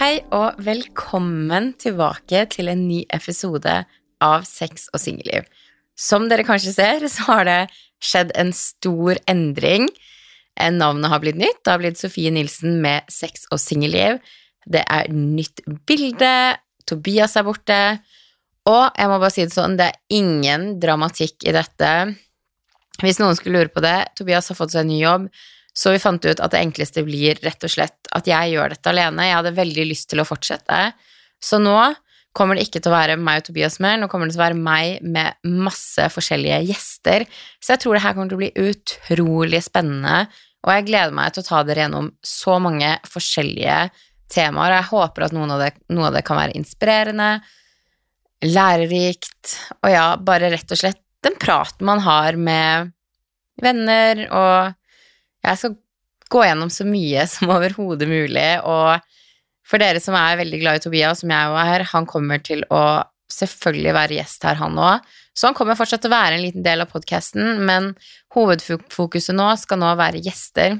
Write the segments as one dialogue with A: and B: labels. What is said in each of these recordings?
A: Hei og velkommen tilbake til en ny episode av Sex og singelliv. Som dere kanskje ser, så har det skjedd en stor endring. Eh, Navnet har blitt nytt. Det har blitt Sofie Nilsen med Sex og singelliv. Det er nytt bilde. Tobias er borte. Og jeg må bare si det sånn, det er ingen dramatikk i dette. Hvis noen skulle lure på det, Tobias har fått seg en ny jobb. Så vi fant ut at det enkleste blir rett og slett at jeg gjør dette alene. Jeg hadde veldig lyst til å fortsette. Så nå kommer det ikke til å være meg og Tobias mer, nå kommer det til å være meg med masse forskjellige gjester. Så jeg tror det her kommer til å bli utrolig spennende, og jeg gleder meg til å ta dere gjennom så mange forskjellige temaer. Jeg håper at noen av det, noe av det kan være inspirerende, lærerikt, og ja, bare rett og slett den praten man har med venner og jeg skal gå gjennom så mye som overhodet mulig, og for dere som er veldig glad i Tobias, som jeg jo er, han kommer til å selvfølgelig være gjest her, han òg. Så han kommer fortsatt til å være en liten del av podkasten, men hovedfokuset nå skal nå være gjester.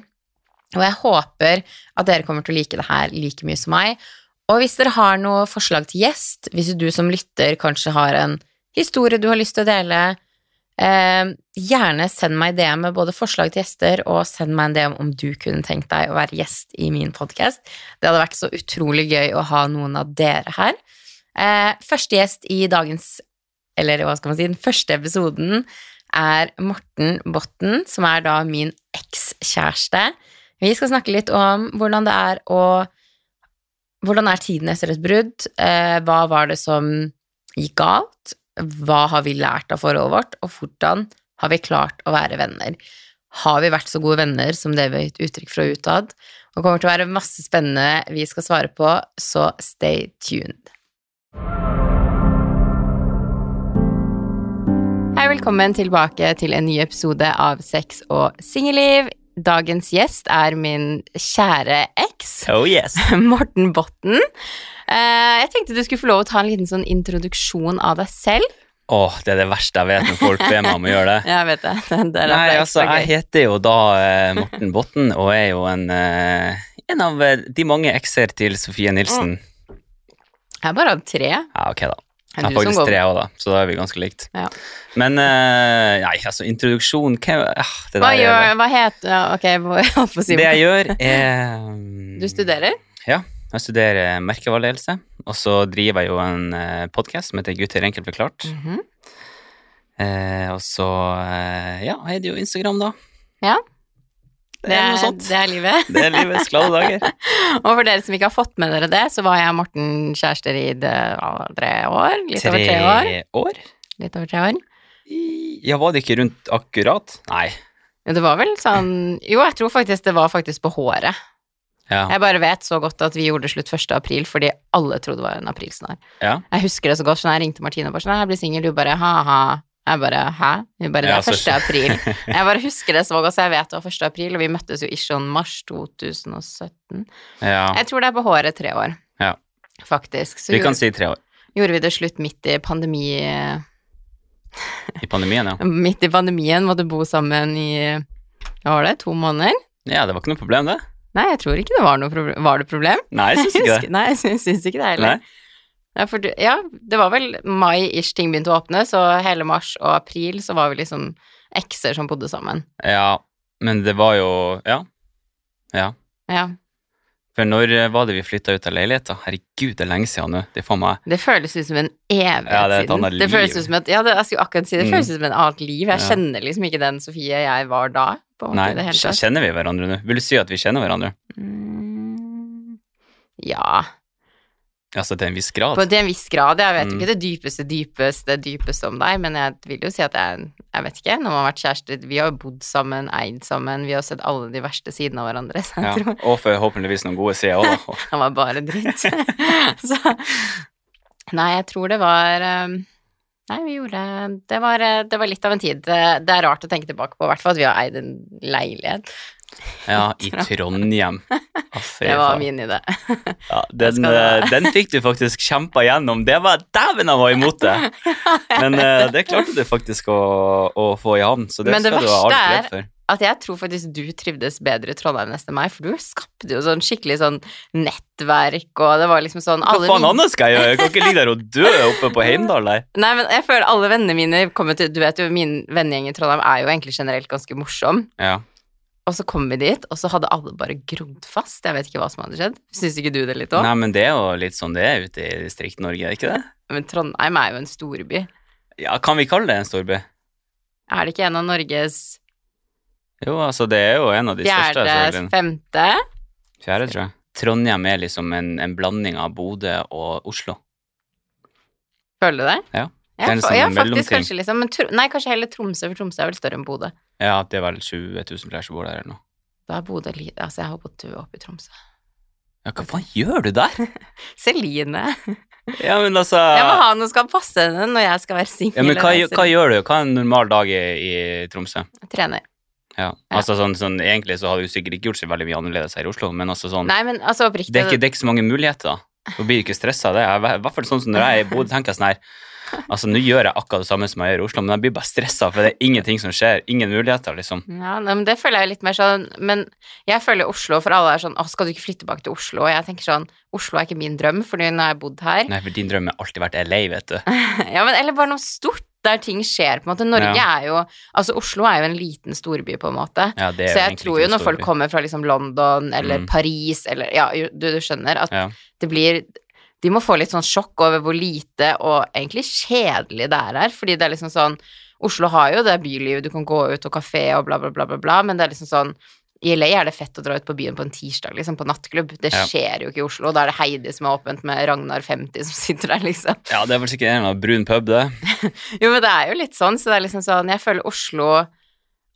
A: Og jeg håper at dere kommer til å like det her like mye som meg. Og hvis dere har noe forslag til gjest, hvis du som lytter kanskje har en historie du har lyst til å dele, Eh, gjerne send meg DM med både forslag til gjester, og send meg en DM om du kunne tenkt deg å være gjest i min podkast. Det hadde vært så utrolig gøy å ha noen av dere her. Eh, første gjest i dagens, eller hva skal man si, den første episoden er Morten Botten, som er da min ekskjæreste. Vi skal snakke litt om hvordan det er å Hvordan er tiden etter et brudd? Eh, hva var det som gikk galt? hva har vi lært av forholdet vårt, og hvordan har vi klart å være venner? Har vi vært så gode venner som det vi har gitt uttrykk for utad? Og det kommer til å være masse spennende vi skal svare på, så stay tuned. Hei, velkommen tilbake til en ny episode av Sex og singelliv. Dagens gjest er min kjære eks.
B: Oh yes.
A: Morten Botten. Eh, Jeg tenkte du skulle få lov å ta en liten sånn introduksjon av deg selv.
B: Åh, det er det verste jeg vet når folk ber meg om å gjøre det.
A: Jeg vet det. det, det er
B: Nei,
A: derfor det er
B: altså, jeg
A: så gøy.
B: heter jo da eh, Morten Botten, og er jo en, eh, en av eh, de mange ekser til Sofie Nilsen.
A: Jeg er bare av tre.
B: Ja, ok da.
A: Mm. Er
B: Jeg
A: du
B: har
A: som
B: faktisk
A: går-
B: tre også da, så da er vi ganske likt.
A: Ja.
B: Men, eh, nei, altså, introduksjon, hva, ah, det
A: Hva
B: der er-
A: gjør Hva heter ja, Ok, hva- jeg holdt på å si
B: Det jeg gjør er mm,
A: Du studerer?
B: Ja, jeg studerer merkevareledelse, og så driver jeg jo en eh, podcast som heter Gutter enkelt forklart.
A: Mhm.
B: Eh, og så eh, ja, er det jo Instagram, da.
A: Ja.
B: Det er noe sånt.
A: det er livet.
B: Det er livets glade dager.
A: Og for dere som ikke har fått med dere det, så var jeg og Morten kjærester i det, ja, tre år. Litt over tre år.
B: år?
A: Litt over tre år.
B: I- Ja, var det ikke rundt akkurat? Nei.
A: Men det var vel sånn Jo, jeg tror faktisk det var faktisk på håret.
B: Ja.
A: Jeg bare vet så godt at vi gjorde det slutt 1. april fordi alle trodde det var en aprilsnarr.
B: ja.
A: Jeg husker det så godt, så jeg ringte Martine og bare sånn, «Nei, jeg blir singel, du bare ha-ha. Jeg bare hæ? Hun bare det
B: Ja,
A: er
B: så-
A: 1. april. Jeg bare husker det så godt, så jeg vet det var 1. april, og vi møttes jo i sånn mars 2017.
B: ja.
A: Jeg tror det er på håret tre år,
B: Ja.
A: faktisk. Så
B: Vi kan
A: gjorde,
B: si tre år.
A: gjorde vi det slutt midt i pandemi...
B: I pandemien, ja.
A: Midt i pandemien måtte bo sammen i hva var det, to måneder?
B: Ja, det var ikke noe problem, det.
A: Nei, jeg tror ikke det var noe problem. Var det problem?
B: Nei, jeg syns ikke det.
A: Husker- Nei, jeg syns ikke det heller.
B: Nei.
A: Ja, for, du- ja, det var vel mai-ish ting begynte å åpne, så hele mars og april så var vi liksom ekser som bodde sammen.
B: Ja, men det var jo Ja. Ja.
A: Ja,
B: For når eh, var det vi flytta ut av leiligheta? Herregud, det er lenge siden nå. Det er faen meg
A: Det føles ut som en evighet
B: Ja, det er et
A: siden.
B: annet
A: Det føles
B: liv.
A: ut som et, ja, det, jeg skulle akkurat si det, det
B: Mm.
A: føles ut som et annet liv. Jeg
B: Ja.
A: kjenner liksom ikke den Sofie jeg var da. På en måte,
B: Nei,
A: i det hele tatt.
B: kjenner vi hverandre nå? Vil du si at vi kjenner hverandre?
A: Mm. Ja,
B: Altså til en viss grad?
A: på, til en viss grad. Jeg vet jo
B: Mm.
A: ikke det dypeste, dypeste, dypeste om deg, men jeg vil jo si at jeg, jeg vet ikke, når man har vært kjærester Vi har jo bodd sammen, eid sammen, vi har sett alle de verste sidene av hverandre. Så jeg
B: ja.
A: tror
B: Og forhåpentligvis noen gode sider òg, da.
A: Han var bare dritt. så Nei, jeg tror det var eh, Nei, vi gjorde Det var, eh, det var litt av en tid. Det, det er rart å tenke tilbake på, i hvert fall at vi har eid en leilighet.
B: Ja, i Trondheim. Altså,
A: Det var min idé.
B: Ja, den,
A: skal det-
B: eh, den fikk du faktisk kjempa gjennom. Det var dæven jeg var imot det! Men eh, det klarte du faktisk å, å få i havn, så det
A: Men det
B: skal du ha
A: verste
B: alt redd
A: er
B: for.
A: at jeg tror faktisk du trivdes bedre i Trondheim nesten meg, for du skapte jo sånn skikkelig sånn nettverk, og det var liksom sånn
B: Hva
A: alle
B: faen
A: vin-
B: annet skal jeg gjøre? Jeg kan ikke ligge der og dø oppe på Heimdal der.
A: Nei, men jeg føler alle vennene mine kommer til Du vet jo, min vennegjeng i Trondheim er jo egentlig generelt ganske morsom.
B: Ja.
A: Og så kom vi dit, og så hadde alle bare grodd fast. Jeg vet ikke hva som hadde skjedd. Syns ikke du det litt òg?
B: Nei, men det er jo litt sånn det er ute i Distrikt-Norge, er det ikke det?
A: Men Trondheim er jo en storby.
B: Ja, kan vi kalle det en storby?
A: Er det ikke en av Norges
B: Jo, altså det er jo en av de største.
A: fjerde,
B: selvfølgelig.
A: femte?
B: Fjerde, tror jeg. Trondheim er liksom en, en blanding av Bodø og Oslo.
A: Føler du det?
B: Ja.
A: Ja,
B: Det er en
A: fa-
B: sånn
A: ja,
B: mellomting.
A: faktisk kanskje liksom, men Tro- nei, kanskje heller Tromsø, for Tromsø er vel større enn Bodø.
B: Ja, det er vel 20 000 flere som bor der eller noe.
A: Da er Bodø li- Altså, jeg holdt på å dø oppe i Tromsø.
B: Ja, hva faen gjør du der?
A: Celine!
B: Ja, men altså
A: Jeg må ha noe som skal passe henne når jeg skal være singel.
B: ja, men hva,
A: og reise
B: hva gjør du? Hva er en normal dag i, i Tromsø?
A: rundt. Trener.
B: Ja.
A: Ja.
B: Altså sånn, sånn, Egentlig så hadde du sikkert ikke gjort så veldig mye annerledes her i Oslo, men altså sånn
A: Nei, men altså oppriktig
B: det, er ikke, det er ikke så mange muligheter. Da blir du ikke stressa. Det er i hvert fall sånn som når jeg er i Bodø, tenker jeg sånn her Altså, nå gjør jeg akkurat det samme som jeg gjør i Oslo, men jeg blir bare stressa, for det er ingenting som skjer. Ingen muligheter, liksom.
A: Ja, nei, men det føler jeg litt mer sånn Men jeg føler Oslo, for alle er sånn Å, skal du ikke flytte tilbake til Oslo? Og jeg tenker sånn Oslo er ikke min drøm, fordi nå har jeg bodd her.
B: Nei, for din drøm har alltid vært LA, vet du.
A: Ja, men eller bare noe stort der ting skjer, på en måte. Norge er jo Altså, Oslo er jo en liten storby, på en måte.
B: Ja, det er
A: Så jeg
B: egentlig
A: tror
B: ikke
A: jo når
B: noe stor
A: folk
B: by.
A: kommer fra liksom London eller
B: Mm.
A: Paris eller Ja, jo, du, du skjønner at
B: ja.
A: det blir De må få litt sånn sjokk over hvor lite og egentlig kjedelig det er her, fordi det er liksom sånn Oslo har jo det bylivet, du kan gå ut og kafé og bla, bla, bla, bla, bla, men det er liksom sånn i LA er det fett å dra ut på byen på en tirsdag, liksom, på nattklubb. Det
B: Ja.
A: skjer jo ikke i Oslo. Da er det Heidi som er åpent med Ragnar 50 som sitter der, liksom.
B: ja, det er vel sikkert en eller annen brun pub, det.
A: Jo, men det er jo litt sånn, så det er liksom sånn Jeg føler Oslo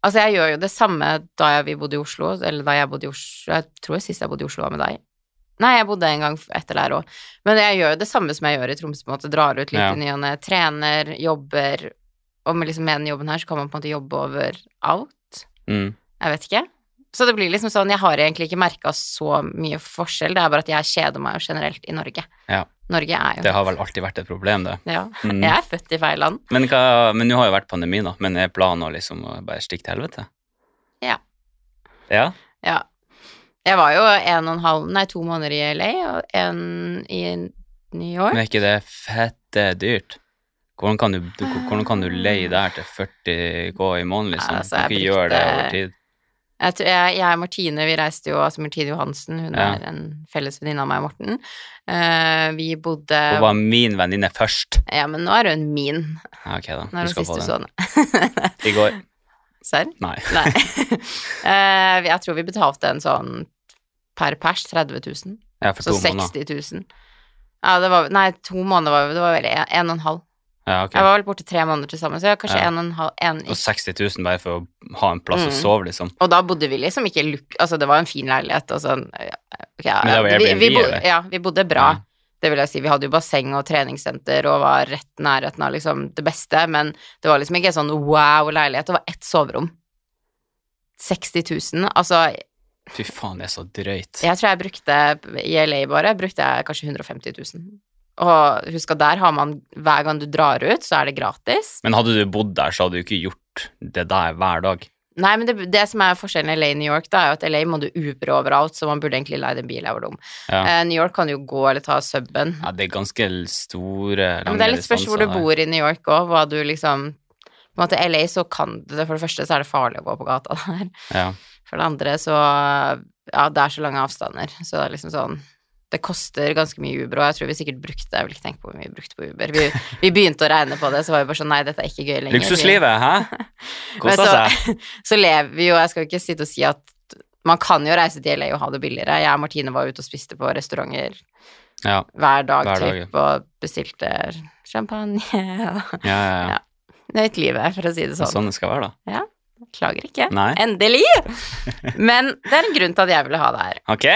A: Altså, jeg gjør jo det samme da jeg, vi bodde i Oslo, eller da jeg bodde i Oslo Jeg tror sist jeg bodde i Oslo var med deg. Nei, jeg bodde en gang etter der òg. Men jeg gjør jo det samme som jeg gjør i Tromsø, på en måte. Drar ut litt
B: Ja.
A: i ny og ne, trener, jobber. Og med, liksom, med den jobben her så kan man på en måte jobbe overalt.
B: Mm.
A: Jeg vet ikke. Så det blir liksom sånn Jeg har egentlig ikke merka så mye forskjell. Det er bare at jeg kjeder meg jo generelt i Norge.
B: Ja.
A: Norge er jo
B: Det har vel alltid vært et problem, det.
A: Ja.
B: Mm.
A: Jeg er født i feil land.
B: Men, hva, men nå har jo vært pandemi, da. Men er planen å liksom å bare stikke til helvete?
A: Ja.
B: Ja?
A: Ja. Jeg var jo en og en halv, nei, to måneder i LA og en i New York.
B: Men er ikke det fette dyrt? Hvordan kan du, du, hvordan kan du leie der til 40 K i måneden, liksom?
A: Altså,
B: du kan
A: jeg
B: ikke gjøre det
A: brukte-
B: over tid.
A: Jeg, tror- jeg, jeg og Martine, vi reiste jo, altså Martine Johansen, hun
B: Ja.
A: er en felles venninne av meg og Morten. Eh, vi bodde
B: Hun var min venninne først.
A: Ja, men nå er hun min.
B: Ja, ok da.
A: Nå er
B: Du
A: hun
B: skal
A: sist du
B: få den.
A: så henne.
B: I går.
A: Serr?
B: Nei.
A: Nei. Eh, jeg tror vi betalte en sånn per pers 30 000.
B: Ja, for
A: Så
B: to måneder.
A: 60 000. Ja, det var Nei, to måneder var det var vel en, en og en halv.
B: Ja, ok.
A: Jeg var vel borte tre måneder til sammen, så jeg var kanskje
B: Ja.
A: en og en halv en,
B: Og 60 000 bare for å ha en plass å
A: Mm.
B: sove, liksom.
A: Og da bodde vi liksom ikke i luk... Altså, det var en fin leilighet og sånn. ja, ok, ja,
B: Men det var
A: vi, vi,
B: Airbnb,
A: bo,
B: eller?
A: ja, vi bodde bra.
B: Ja.
A: Det vil jeg si. Vi hadde jo basseng og treningssenter og var rett nærheten av liksom det beste, men det var liksom ikke en sånn wow-leilighet. Det var ett soverom. 60 000. Altså,
B: Fy faen, det er så drøyt.
A: jeg tror jeg brukte i LA bare, brukte jeg kanskje 150 000. Og husk at der har man Hver gang du drar ut, så er det gratis.
B: Men hadde du bodd der, så hadde du ikke gjort det der hver dag.
A: Nei, men det, det som er forskjellen i LA og New York, da, er jo at LA må du Uber overalt, så man burde egentlig leie en bil, jeg var dum.
B: Ja.
A: Eh, New York kan du jo gå eller ta subben.
B: Ja, det er ganske store,
A: Ja, men
B: lange
A: det er litt spørsmål hvor du
B: distanser der.
A: bor i New York òg, hva du liksom På en måte, i LA så kan du det, for det første så er det farlig å gå på gata der.
B: Ja.
A: For det andre så Ja, det er så lange avstander, så det er liksom sånn det koster ganske mye Uber, og jeg tror vi sikkert brukte Jeg vil ikke tenke på hvor mye vi brukte på Uber. Vi, vi begynte å regne på det, så var vi bare sånn Nei, dette er ikke gøy lenger.
B: Luksuslivet, hæ?
A: Men
B: Kosa seg.
A: så, så lever vi jo, jeg skal jo ikke sitte og si at man kan jo reise til LA og ha det billigere. Jeg og Martine var ute og spiste på restauranter
B: Ja,
A: hver dag,
B: Hver dag,
A: typ, og bestilte champagne og
B: ja, ja. ja.
A: Ja. nøyt livet, for å si det
B: Det er
A: sånn.
B: sånn det skal være, da.
A: Klager ikke.
B: Sånn. Nei.
A: Endelig! Men det er en grunn til at jeg ville ha det her.
B: Ok,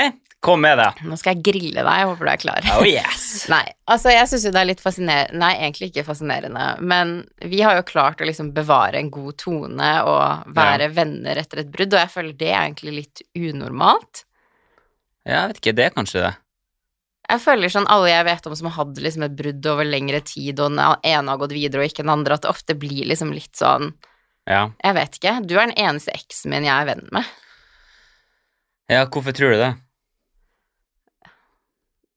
B: kom med det.
A: Nå skal jeg grille deg, jeg håper du er klar.
B: Oh yes!
A: Nei, altså jeg syns jo det er litt fascinerende Nei, egentlig ikke fascinerende, men vi har jo klart å liksom bevare en god tone og være venner etter et brudd, og jeg føler det er egentlig litt unormalt.
B: Ja, jeg vet ikke, det er kanskje det.
A: Jeg føler sånn alle jeg vet om som har hatt liksom et brudd over lengre tid, og den ene har gått videre og ikke den andre, at det ofte blir liksom litt sånn
B: Ja.
A: Jeg vet ikke. Du er den eneste eksen min jeg er venn med.
B: ja, hvorfor tror du det?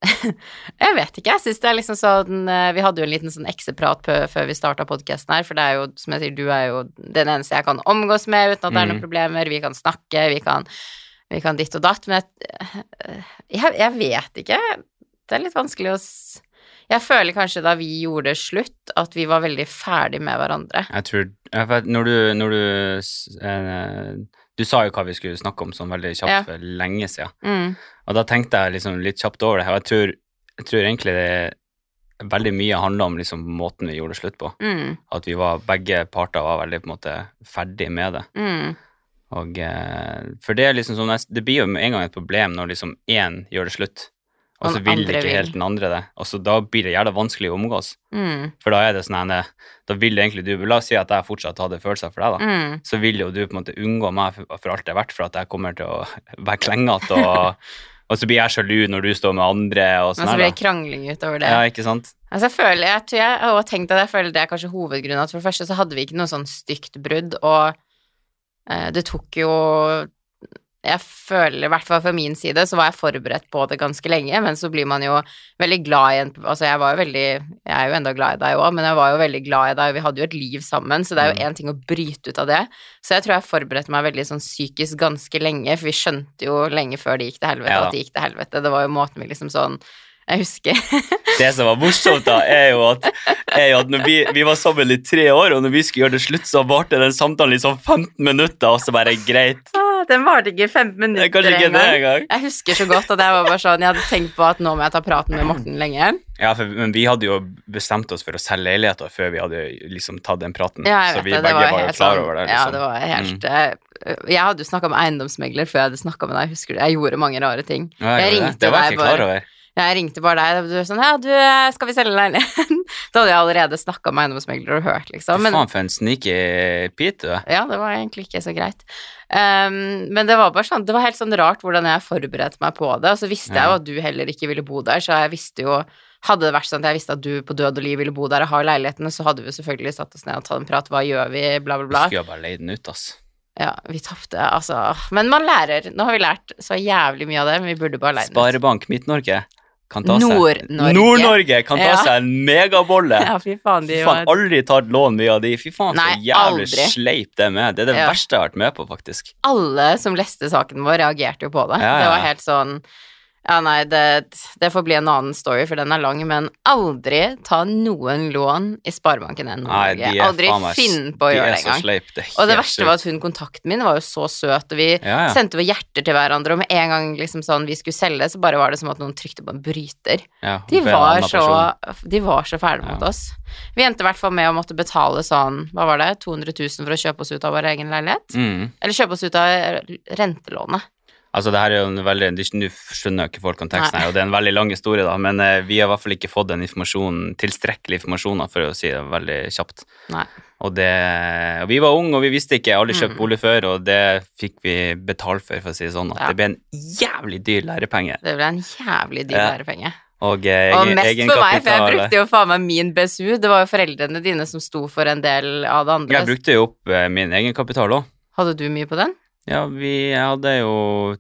A: Jeg vet ikke. Jeg synes det er liksom sånn eh, Vi hadde jo en liten sånn ekseprat pø- før vi starta podkasten her, for det er jo, som jeg sier, du er jo den eneste jeg kan omgås med uten at det er noen
B: Mm.
A: problemer. Vi kan snakke, vi kan, vi kan ditt og datt, men jeg, eh, jeg, jeg vet ikke. Det er litt vanskelig å s- Jeg føler kanskje da vi gjorde slutt, at vi var veldig ferdig med hverandre.
B: Jeg tror ja, for at Når du, når du s- eh, Du sa jo hva vi skulle snakke om sånn veldig kjapt
A: Ja.
B: for lenge siden.
A: Mm.
B: Og da tenkte jeg liksom litt kjapt over det, og jeg tror, jeg tror egentlig det veldig mye handla om liksom måten vi gjorde det slutt på.
A: Mm.
B: At vi var, begge parter var veldig på en måte ferdig med det.
A: Mm.
B: Og, eh, for det er liksom sånn, det blir jo med en gang et problem når liksom én gjør det slutt, og
A: Og den
B: så vil
A: andre
B: ikke
A: vil.
B: helt den andre det. Og så da blir det jævla vanskelig å omgås.
A: Mm.
B: For da er det sånn her, da vil egentlig du La oss si at jeg fortsatt hadde følelser for deg, da
A: Mm.
B: så vil jo du på en måte unngå meg for, for alt det er verdt, for at jeg kommer til å være klengete, og, og så blir jeg sjalu når du står med andre og
A: Men så
B: sånn her.
A: blir det
B: da.
A: krangling utover det.
B: Ja, ikke sant?
A: Altså jeg føler, jeg tror jeg har også tenkt at jeg føler det er kanskje hovedgrunnen at for det første så hadde vi ikke noe sånn stygt brudd, og eh, det tok jo Jeg føler, i hvert fall fra min side, så var jeg forberedt på det ganske lenge, men så blir man jo veldig glad i en Altså jeg var jo veldig Jeg er jo enda glad i deg òg, men jeg var jo veldig glad i deg, og vi hadde jo et liv sammen, så det er
B: Mm.
A: jo én ting å bryte ut av det. Så jeg tror jeg forberedte meg veldig sånn psykisk ganske lenge, for vi skjønte jo lenge før det gikk til helvete
B: Ja da.
A: at det gikk til helvete. Det var jo måten vi liksom sånn Jeg husker
B: Det som var morsomt, da, er jo at, er jo at når vi, vi var sammen i tre år, og når vi skulle gjøre det slutt, så varte den samtalen i sånn 15 minutter, og så bare greit.
A: Ah, Den varte ikke fem
B: Det er
A: minutter
B: kanskje ikke det
A: engang.
B: engang.
A: Jeg husker så godt at jeg var bare sånn Jeg hadde tenkt på at nå må jeg ta praten med Morten lenge.
B: Ja, for, men vi hadde jo bestemt oss for å selge leiligheter før vi hadde liksom tatt den praten.
A: Ja, jeg
B: så
A: vet
B: vi
A: det, det
B: begge
A: var
B: var, jo
A: helt
B: klar
A: sånn-
B: over det.
A: Ja,
B: Liksom.
A: det var helt eh, Jeg hadde jo snakka med eiendomsmegler før jeg hadde snakka med deg. Jeg Husker det. Jeg gjorde mange rare ting.
B: Ja,
A: jeg
B: gjorde det.
A: ringte
B: det var jeg
A: deg
B: ikke
A: bare.
B: klar over.
A: Jeg ringte bare deg, og du var sånn Ja, du, eh, skal vi selge leiligheten? Da hadde jeg allerede snakka med eiendomsmegler og hørt, liksom. Men,
B: Faen, for en sneaky pit du er.
A: ja, det var egentlig ikke så greit. Ehm, men det var bare sånn, det var helt sånn rart hvordan jeg forberedte meg på det. Og så visste jeg
B: Ja.
A: jo at du heller ikke ville bo der, så jeg visste jo Hadde det vært sånn at jeg visste at du på død og liv ville bo der og ha leiligheten, så hadde vi jo selvfølgelig satt oss ned og tatt en prat. Hva gjør vi? Bla, bla, bla.
B: Skulle jeg bare leid den ut, ass.
A: Ja, vi tapte, altså. Men man lærer. Nå har vi lært så jævlig mye av det, men vi burde bare leid den ut.
B: Sparebank Midt-Norge kan ta seg
A: Nord-Norge.
B: Nord-Norge kan ta
A: Ja.
B: seg en megabolle!
A: Ja, fy faen, de
B: Fy faen,
A: var
B: aldri tatt lån mye av de. Fy faen, så
A: Nei,
B: jævlig
A: aldri.
B: sleip det er med. Det er det
A: Ja.
B: verste jeg har vært med på, faktisk.
A: alle som leste saken vår, reagerte jo på det.
B: Ja, ja, ja.
A: Det var helt sånn Ja, nei, det, det får bli en annen story, for den er lang, men aldri ta noen lån i Sparebanken
B: Nei, de
A: Norge.
B: er
A: Aldri
B: faen meg s-
A: finn på å
B: de
A: gjøre
B: er
A: det
B: så
A: engang.
B: sleip. Det er
A: Og det
B: helt
A: verste var
B: sjukt.
A: at hun kontakten min var jo så søt, og vi
B: ja, ja.
A: sendte jo hjerter til hverandre, og med en gang liksom sånn vi skulle selge, så bare var det som at noen trykte på en bryter.
B: Ja,
A: De
B: for en
A: var,
B: annen
A: så,
B: person.
A: de var så fæle mot
B: Ja.
A: oss. Vi endte i hvert fall med å måtte betale sånn, hva var det, 200 000 for å kjøpe oss ut av vår egen leilighet?
B: mm.
A: Eller kjøpe oss ut av rentelånet.
B: Altså, det her er jo en veldig du- Nå skjønner jo ikke folk konteksten her, og det er en veldig lang historie, da, men eh, vi har i hvert fall ikke fått den informasjonen, tilstrekkelig informasjon, da, for å si det veldig kjapt.
A: Nei.
B: Og, det, og vi var unge, og vi visste ikke, aldri
A: Mm.
B: kjøpt bolig før, og det fikk vi betalt for, for å si det sånn, at
A: Ja.
B: det ble en jævlig dyr lærepenge.
A: Det ble en jævlig dyr
B: Ja.
A: lærepenge.
B: Og, eh,
A: Og
B: egen-
A: mest for meg, for jeg
B: egenkapital-
A: brukte jo faen meg min BSU. Det var jo foreldrene dine som sto for en del av det andre.
B: Jeg brukte jo opp eh, min egenkapital òg.
A: Hadde du mye på den?
B: Ja, vi jeg hadde jo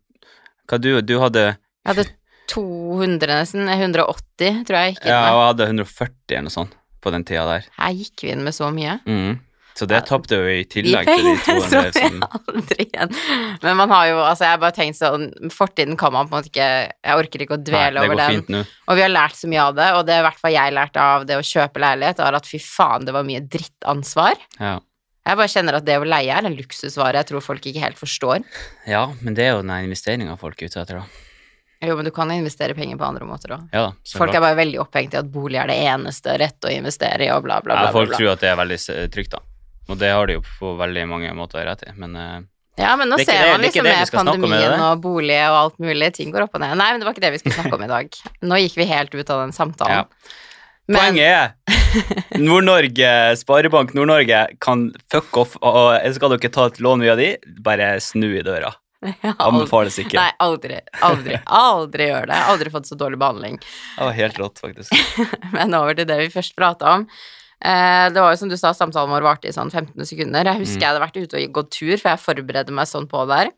B: Hva du, du hadde
A: Jeg hadde 200 nesten. 180 tror jeg gikk inn
B: Ja,
A: med.
B: jeg hadde 140 eller noe sånt på den tida der.
A: Her gikk vi inn med så mye.
B: Mhm. Så det tapte jo i
A: De
B: tillegg til
A: pengene
B: de
A: så
B: 200
A: vi
B: som
A: aldri igjen. Men man har jo, altså jeg har bare tenkt sånn, fortiden kan man på en måte ikke, jeg orker ikke å
B: Nei,
A: dvele
B: det
A: over
B: går
A: den.
B: fint nå.
A: Og vi har lært så mye av det, og det i hvert fall jeg lærte av det å kjøpe leilighet, er at fy faen, det var mye drittansvar.
B: Ja.
A: Jeg bare kjenner at det å leie er en luksusvare jeg tror folk ikke helt forstår.
B: ja, men det er jo den investeringa folk er ute etter, da.
A: Jo, men du kan investere penger på andre måter òg.
B: Ja, da, så
A: Folk
B: klart.
A: er bare veldig opphengt i at bolig er det eneste rette å investere i, og bla, bla,
B: ja,
A: bla. bla,
B: folk
A: bla.
B: tror at det er veldig s- eh, trygt, da. Og det har de jo på veldig mange måter rett i, men eh,
A: Ja, men nå
B: Det er ikke
A: ser
B: det-
A: man liksom
B: det er ikke det vi
A: med
B: skal snakke om, er det
A: pandemien
B: det?
A: og bolig og alt mulig, ting går opp og ned. Nei, men det var ikke det vi skulle snakke om i dag. Nå gikk vi helt ut av den
B: ja.
A: samtalen. Men
B: Poenget er Nord-Norge, Sparebank Nord-Norge kan fuck off, og skal dere ta et lån via de, bare snu i døra.
A: Ja, aldri-
B: Anbefales ikke.
A: Nei, aldri, aldri, aldri gjør det. Jeg har Aldri fått så dårlig behandling.
B: Det var helt rått, faktisk.
A: Men over til det vi først prata om. Eh, det var jo som du sa, samtalen vår varte i sånn 15 sekunder. Jeg husker
B: Mm.
A: jeg hadde vært ute og gått tur, for jeg forberedte meg sånn på det her.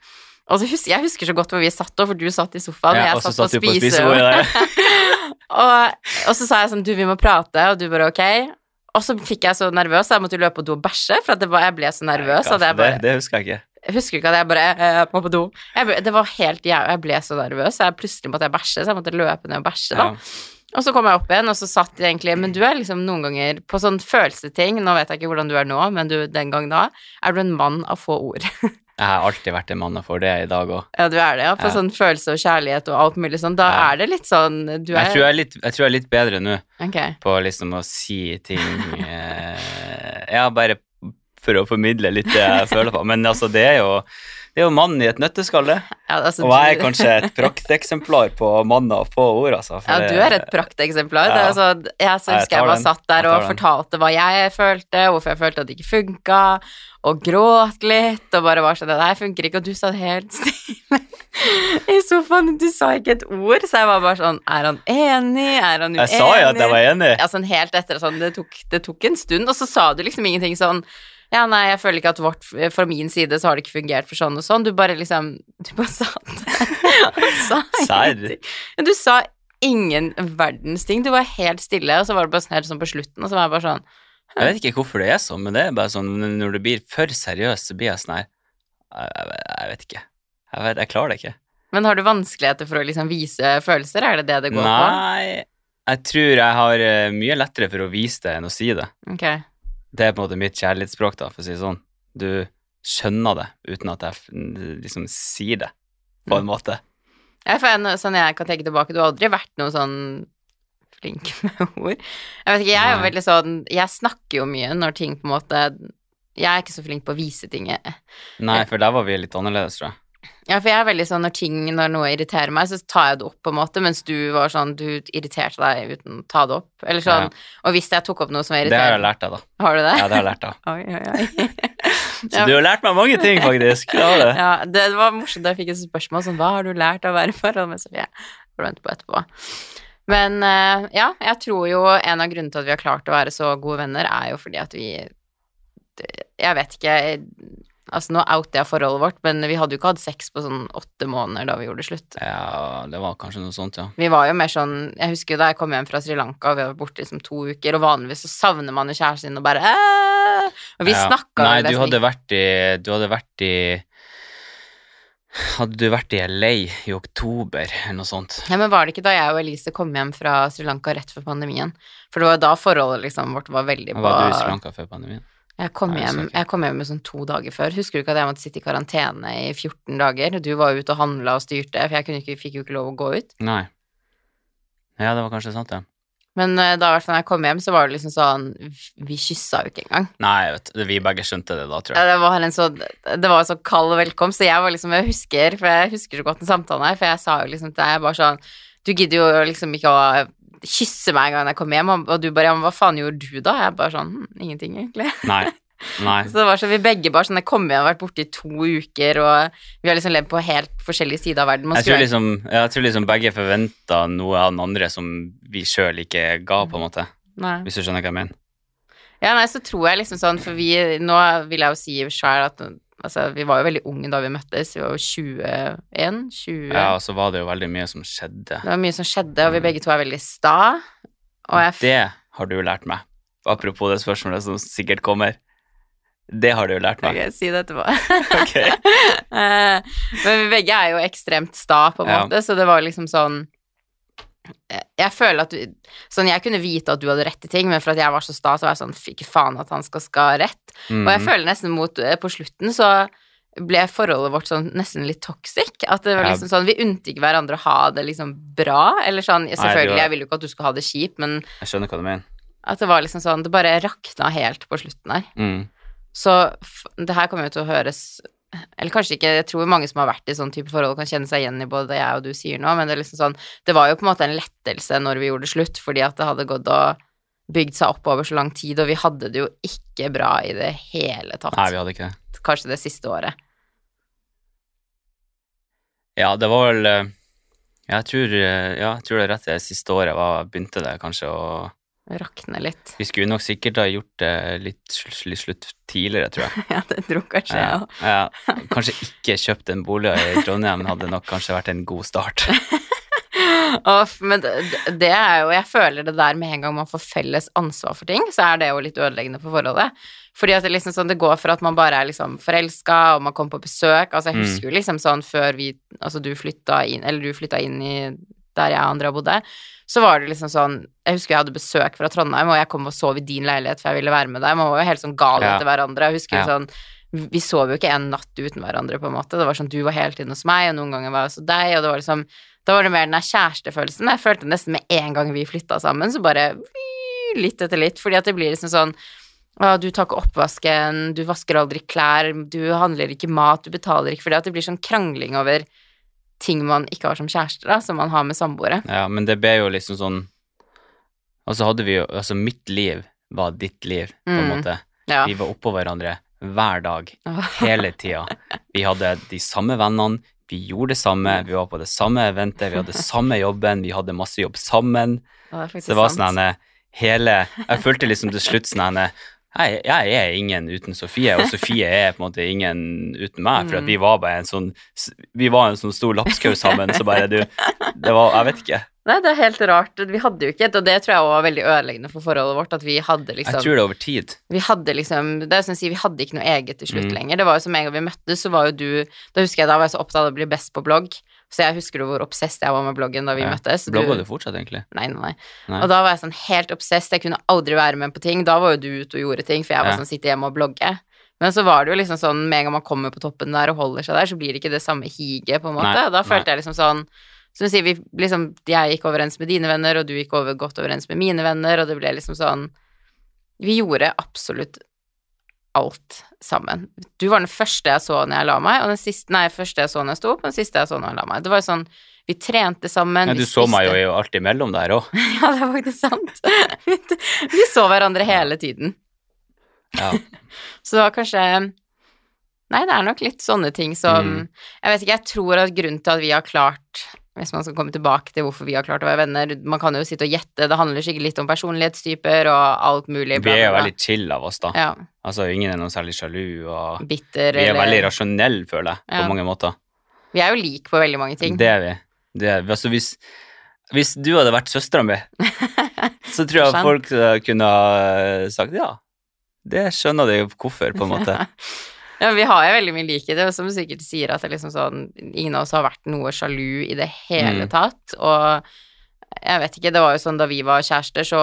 A: Og så husker, jeg husker så godt hvor vi satt, og for du satt i sofaen, og
B: Ja,
A: jeg
B: og så
A: satt på
B: satt du på
A: spisebordet.
B: spisebordet der.
A: Og, og så sa jeg sånn, du, vi må prate, og du bare, ok. Og så fikk jeg så nervøs, så jeg måtte løpe på do og bæsje, for at det var, jeg ble så nervøs. at jeg bare,
B: det, det husker jeg ikke.
A: jeg husker ikke at jeg bare, eh, jeg må på do. Jeg ble, det var helt jævlig, jeg ble så nervøs, så jeg plutselig måtte jeg bæsje, så jeg måtte løpe ned og bæsje da.
B: Ja.
A: Og så kom jeg opp igjen, og så satt jeg egentlig Men du er liksom noen ganger på sånn følelseting Nå vet jeg ikke hvordan du er nå, men du den gang da Er du en mann av få ord?
B: Jeg har alltid vært en mann for det i dag òg.
A: Ja, du er det, ja På
B: Ja.
A: sånn følelse og kjærlighet og alt mulig sånn Da
B: Ja.
A: er det litt sånn Du
B: Jeg
A: er
B: tror jeg er litt, jeg tror jeg er litt bedre nå
A: Ok
B: på liksom å si ting eh, Ja, bare for å formidle litt det jeg føler på. Men altså, det er jo, det er jo mannen i et nøtteskall, det.
A: ja, altså,
B: Og jeg er
A: du-
B: kanskje et prakteksemplar på manner og få ord, altså. for
A: Ja,
B: det-
A: du er et prakteksemplar. Det er
B: Ja.
A: altså, jeg så
B: Ja, jeg
A: husker jeg
B: tar
A: bare
B: den.
A: satt der
B: Jeg tar
A: og
B: den.
A: fortalte hva jeg følte, hvorfor jeg følte at det ikke funka, og gråt litt, og bare var sånn Det her funker ikke, og du satt helt stille i sofaen. Du sa ikke et ord, så jeg var bare sånn Er han enig? Er han uenig?
B: Jeg sa jo at jeg var enig.
A: Ja, sånn helt etter sånn, det tok, det tok en stund, og så sa du liksom ingenting sånn ja, nei, jeg føler ikke at vårt, fra min side så har det ikke fungert for sånn og sånn. Du bare liksom, du bare satt og sa
B: Serr.
A: ingenting. Men Du sa ingen verdens ting. Du var helt stille, og så var det bare sånn helt sånn på slutten, og så var jeg bare sånn
B: Jeg vet ikke hvorfor det er sånn, men det er bare sånn når det blir for seriøst, så blir jeg sånn her Jeg, jeg, jeg vet ikke. Jeg, vet, jeg klarer det ikke.
A: Men har du vanskeligheter for å liksom vise følelser? Er det det det går
B: Nei, jeg tror jeg har eh, mye lettere for å vise det enn å si det.
A: på? Ok.
B: Det er på en måte mitt kjærlighetsspråk, da, for å si det sånn. Du skjønner det uten at jeg f- liksom sier det, på
A: Mm.
B: en måte.
A: Ja, for jeg, sånn jeg kan tenke tilbake, du har aldri vært noe sånn flink med ord. Jeg vet ikke, jeg er jo
B: Nei.
A: veldig sånn Jeg snakker jo mye når ting på en måte Jeg er ikke så flink på å vise ting. jeg.
B: Nei, for der var vi litt annerledes, tror jeg.
A: Ja, for jeg er veldig sånn når ting, når noe irriterer meg, så tar jeg det opp, på en måte, mens du var sånn Du irriterte deg uten å ta det opp. Eller sånn.
B: Ja.
A: Og hvis jeg tok opp noe som var
B: Det har jeg
A: irriterende
B: lært deg, da.
A: Har du det?
B: Ja, det har jeg lært deg.
A: Oi, oi, oi.
B: Så du har lært meg mange ting, faktisk. Ja, det.
A: Ja, det var morsomt da jeg fikk et spørsmål sånn, hva har du lært av å være forhold med Sofie? Det får du vente på etterpå. Men eh, ja, jeg tror jo en av grunnene til at vi har klart å være så gode venner, er jo fordi at vi det- Jeg vet ikke Altså, nå outer jeg forholdet vårt, men vi hadde jo ikke hatt sex på sånn åtte måneder da vi gjorde slutt.
B: Ja, det var kanskje noe sånt, ja.
A: Vi var jo mer sånn Jeg husker jo da jeg kom hjem fra Sri Lanka, og vi var borte liksom to uker, og vanligvis så savner man jo kjæresten sin og bare «Æ!» Og vi
B: Ja.
A: snakka
B: Nei,
A: jo
B: du
A: nesten
B: hadde vært i Du hadde vært i Hadde du vært i LA i oktober eller noe sånt?
A: Ja, men var det ikke da jeg og Elise kom hjem fra Sri Lanka rett før pandemien? For det var da forholdet liksom vårt var veldig på
B: Var du i Sri Lanka før pandemien?
A: Jeg kom
B: Nei, jeg
A: hjem,
B: husker ikke.
A: jeg kom hjem med sånn to dager før. Husker du ikke at jeg måtte sitte i karantene i 14 dager? Du var ute og handla og styrte, for jeg kunne ikke, fikk jo ikke lov å gå ut.
B: Nei. Ja, det var kanskje sant, ja.
A: Men eh, da i hvert fall når jeg kom hjem, så var det liksom sånn Vi kyssa jo ikke engang.
B: Nei, vet du, vi begge skjønte det da, tror
A: Ja,
B: jeg.
A: det var en så, det var en så kald velkomst, så jeg var liksom, jeg husker, for jeg husker så godt den samtalen her, for jeg sa jo liksom til deg, jeg bare sånn, du gidder jo liksom ikke å kysse meg en gang jeg kom hjem, og du bare, ja, men hva faen gjorde du da? Jeg bare sånn, hm, ingenting egentlig.
B: Nei. Nei.
A: Så det var sånn, vi begge bare sånn, jeg kom hjem og vært borte i to uker, og vi har liksom levd på helt forskjellige sider av verden. Man
B: Jeg tror
A: skulle-
B: liksom, jeg tror liksom begge forventa noe av den andre som vi sjøl ikke ga, på en måte.
A: Nei.
B: Hvis du skjønner hva jeg mener.
A: Ja, nei, så tror jeg liksom sånn, for vi, nå vil jeg jo si selv at, altså, vi var jo veldig unge da vi møttes, vi var jo 21, 20.
B: Ja, og så var det jo veldig mye som
A: Det
B: skjedde.
A: var mye som skjedde, og vi begge to er veldig sta. Og jeg, f-
B: Det har du lært meg. Apropos det spørsmålet som sikkert kommer. Det har du lært
A: Ok,
B: meg.
A: si det etterpå.
B: Ok.
A: Eh, Men vi begge er jo ekstremt sta, på en
B: Ja.
A: måte, så det var liksom sånn eh, jeg føler at du, sånn, jeg kunne vite at du hadde rett til ting, men for at jeg var så sta, så var jeg sånn fy ikke faen at han skal skal ha rett. Og jeg
B: Mhm.
A: føler nesten mot eh, På slutten så ble forholdet vårt sånn nesten litt toxic. At det var
B: Ja.
A: liksom sånn Vi unte ikke hverandre å ha det liksom bra, eller sånn
B: det
A: Selvfølgelig,
B: var-
A: jeg vil jo ikke at du skal ha det kjipt, men
B: Jeg skjønner hva du mener.
A: at det var liksom sånn Det bare rakna helt på slutten her.
B: Mm.
A: Så f- det her kommer jo til å høres Eller kanskje ikke, jeg tror mange som har vært i sånn type forhold kan kjenne seg igjen i både det jeg og du sier nå, men det er liksom sånn Det var jo på en måte en lettelse når vi gjorde det slutt, fordi at det hadde gått og bygd seg opp over så lang tid, og vi hadde det jo ikke bra i det hele tatt.
B: Nei, vi hadde ikke det.
A: Kanskje det siste året.
B: Ja, det var vel eh, Jeg tror, eh, ja, jeg tror det er rett det siste året var, begynte det kanskje å
A: Rakne litt.
B: Vi skulle nok sikkert ha gjort det litt, sl- litt slutt tidligere, tror jeg.
A: Ja, det tror kanskje jeg
B: Ja,
A: òg.
B: ja. Kanskje ikke kjøpt en bolig i Trondheim hadde nok kanskje vært en god start.
A: Uff, men det, det er jo Jeg føler det der med en gang man får felles ansvar for ting, så er det jo litt ødeleggende for forholdet. Fordi at det liksom sånn, det går fra at man bare er liksom forelska, og man kommer på besøk Altså, jeg
B: Mm.
A: husker jo liksom sånn før vi Altså, du flytta inn Eller du flytta inn i der jeg og Andrea bodde, så var det liksom sånn Jeg husker jeg hadde besøk fra Trondheim, og jeg kom og sov i din leilighet, for jeg ville være med deg. Man var jo helt sånn gal
B: Ja.
A: etter hverandre. Jeg husker jo
B: Ja.
A: sånn vi sov jo ikke en natt uten hverandre, på en måte. Det var sånn, Du var hele tiden hos meg, og noen ganger var jeg hos deg, og det var liksom da var det mer den der kjærestefølelsen. Jeg følte nesten med en gang vi flytta sammen, så bare litt etter litt. Fordi at det blir liksom sånn å, du tar ikke oppvasken, du vasker aldri klær, du handler ikke mat, du betaler ikke Fordi at det blir sånn krangling over ting man ikke har som kjærester, da, som man har med samboere.
B: Ja, men det ble jo liksom sånn Og så hadde vi jo Altså, mitt liv var ditt liv, på en
A: Mm,
B: måte.
A: Ja.
B: Vi var oppå hverandre hver dag,
A: Åh,
B: hele tida. Vi hadde de samme vennene, vi gjorde det samme, vi var på det samme eventet, vi hadde samme jobben, vi hadde masse jobb sammen.
A: det er faktisk
B: Så det var
A: sant.
B: sånn henne hele Jeg følte liksom til slutt sånn henne jeg, jeg er ingen uten Sofie, og Sofie er på en måte ingen uten
A: Mm.
B: meg. For at vi var bare en sånn Vi var en sånn stor lapskaus sammen, så bare du Det var Jeg vet ikke.
A: Nei, det er helt rart. Vi hadde jo ikke et, og det tror jeg også var veldig ødeleggende for forholdet vårt, at vi hadde liksom
B: Jeg tror det er over tid.
A: Vi hadde liksom Det er som å si, vi hadde ikke noe eget til slutt
B: Mm.
A: lenger. Det var jo som en gang vi møttes, så var jo du Da husker jeg da var jeg så opptatt av å bli best på blogg. Så jeg husker jo hvor obsess jeg var med bloggen da vi
B: Ja.
A: møttes.
B: Blogger du fortsatt, egentlig?
A: Nei, nei, nei,
B: Nei.
A: Og da var jeg sånn helt obsess. Jeg kunne aldri være med på ting. Da var jo du ute og gjorde ting, for jeg var
B: Ja.
A: sånn sitte hjemme og blogge. Men så var det jo liksom sånn med en gang man kommer på toppen der og holder seg der, så blir det ikke det samme higet, på en måte.
B: Nei,
A: og da følte
B: nei.
A: jeg liksom sånn Som du sier, vi liksom Jeg gikk overens med dine venner, og du gikk over godt overens med mine venner, og det ble liksom sånn Vi gjorde absolutt alt sammen. Du var den første jeg så når jeg la meg, og den siste Nei, første jeg så når jeg sto opp, og den siste jeg så når jeg la meg. Det var jo sånn vi trente sammen.
B: Ja,
A: vi
B: du så meg
A: spiste-
B: jo alt imellom der òg.
A: ja, det er faktisk sant. Vi så hverandre hele tiden.
B: Ja.
A: Så det var kanskje Nei, det er nok litt sånne ting som
B: Mm.
A: Jeg vet ikke, jeg tror at grunnen til at vi har klart Hvis man skal komme tilbake til hvorfor vi har klart å være venner Man kan jo sitte og gjette, det handler sikkert litt om personlighetstyper og alt mulig.
B: Vi
A: bla,
B: er
A: bla,
B: jo
A: bla.
B: veldig chill av oss, da.
A: ja,
B: Altså, ingen er noe særlig sjalu, og
A: bitter
B: vi er
A: eller
B: veldig rasjonelle, føler jeg,
A: Ja.
B: på mange måter.
A: Vi er jo like på veldig mange ting.
B: Det er vi. Det er vi. Altså, hvis, hvis du hadde vært søstera mi, så tror jeg
A: Sant.
B: folk eh, kunne ha eh, sagt ja. Det skjønner de jo hvorfor, på en måte.
A: Ja, vi har jo veldig mye likhet, og som du sikkert sier, at det er liksom sånn, ingen av oss har vært noe sjalu i det hele
B: Mm.
A: tatt. Og jeg vet ikke, det var jo sånn da vi var kjærester, så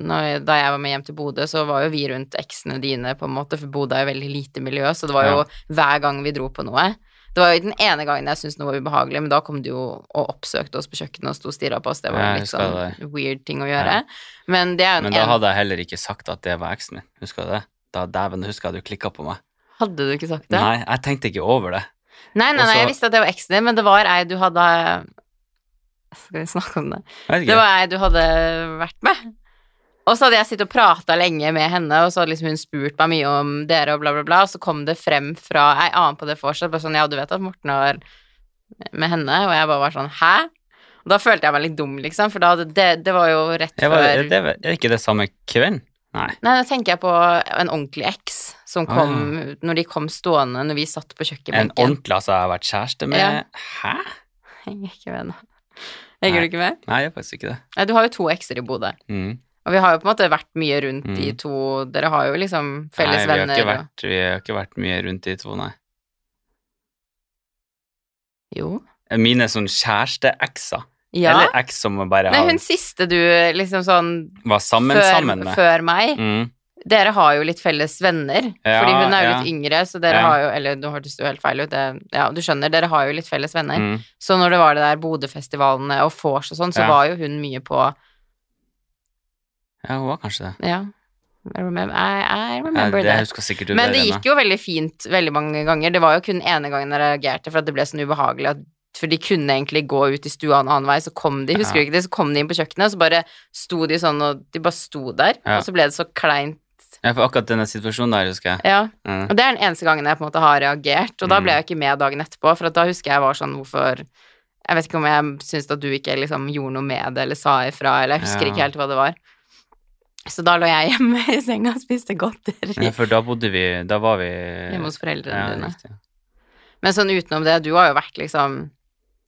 A: når, da jeg var med hjem til Bodø, så var jo vi rundt eksene dine, på en måte, for Bodø er jo veldig lite miljø, så det var jo
B: Ja.
A: hver gang vi dro på noe. Det var jo den ene gangen jeg syntes noe var ubehagelig, men da kom du jo og oppsøkte oss på kjøkkenet og sto og stirra på oss. Det var
B: Ja,
A: jo
B: jeg
A: litt
B: husker
A: sånn weird ting å gjøre. Men det er jo
B: Men
A: den
B: da
A: ene
B: hadde jeg heller ikke sagt at det var eksen din. Husker du det? Da dæven, husker jeg du klikka på meg.
A: Hadde du ikke sagt det?
B: Nei, jeg tenkte ikke over det.
A: Nei, nei, nei,
B: Og så-
A: jeg visste at det var eksen din, men det var ei du hadde Skal vi snakke om det?
B: Jeg vet
A: Det
B: ikke.
A: var ei du hadde vært med. Og så hadde jeg sittet og prata lenge med henne, og så hadde liksom hun spurt meg mye om dere og bla, bla, bla, og så kom det frem fra ei annen på det vorset, bare sånn Ja, du vet at Morten har med henne, og jeg bare var sånn Hæ? Og da følte jeg meg litt dum, liksom, for da hadde det, det var jo rett
B: Jeg
A: før
B: var, er det, er det ikke det samme kvelden? Nei.
A: Nei, nå tenker jeg på en ordentlig eks som
B: Ah,
A: kom Når de kom stående når vi satt på
B: En
A: kjøkkenbenken.
B: ordentlig altså jeg har vært kjæreste med
A: Ja.
B: Hæ?
A: Henger ikke med nå. Henger
B: Nei.
A: du ikke med?
B: Nei, jeg gjør faktisk ikke det.
A: Nei, du har jo to ekser i Bodø,
B: Mm.
A: og vi har jo på en måte vært mye rundt
B: Mm.
A: de to Dere har jo liksom felles
B: nei, vi har,
A: venner
B: ikke vært, vi har ikke vært mye rundt de to, nei.
A: og Jo.
B: Mine sånn kjæresteekser.
A: Ja.
B: Eller eks som bare
A: Nei,
B: har-
A: hun siste du liksom sånn
B: var sammen
A: før,
B: sammen med.
A: før meg
B: Mm.
A: Dere har jo litt felles venner,
B: Ja,
A: fordi hun er jo
B: ja.
A: litt yngre, så dere
B: Ja.
A: har jo Eller nå hørtes det jo helt feil ut, det, ja, du skjønner, dere har jo litt felles venner.
B: Mm.
A: Så når det var det der Bodøfestivalene og vors og sånn, så
B: Ja.
A: var jo hun mye på
B: Ja, hun var kanskje det.
A: Ja. I remember, I, I
B: Ja,
A: remember
B: det
A: that.
B: husker sikkert du
A: Men det gikk jo veldig fint veldig mange ganger. Det var jo kun ene gangen jeg reagerte for at det ble sånn ubehagelig at for de kunne egentlig gå ut i stua en annen vei, så kom de, husker du
B: Ja.
A: ikke det, så kom de inn på kjøkkenet, og så bare sto de sånn, og de bare sto der,
B: Ja.
A: og så ble det så kleint.
B: Ja, for akkurat denne situasjonen der, husker jeg.
A: Ja, og
B: Mm.
A: det er den eneste gangen jeg på en måte har reagert, og da ble jeg ikke med dagen etterpå, for at da husker jeg var sånn, hvorfor, jeg vet ikke om jeg syntes at du ikke liksom gjorde noe med det, eller sa ifra, eller jeg husker
B: Ja.
A: ikke helt hva det var. Så da lå jeg hjemme i senga og spiste godteri
B: Ja, for da bodde vi Da var vi
A: hjemme hos foreldrene
B: ja,
A: dine.
B: riktig.
A: Men sånn utenom det, du har jo vært liksom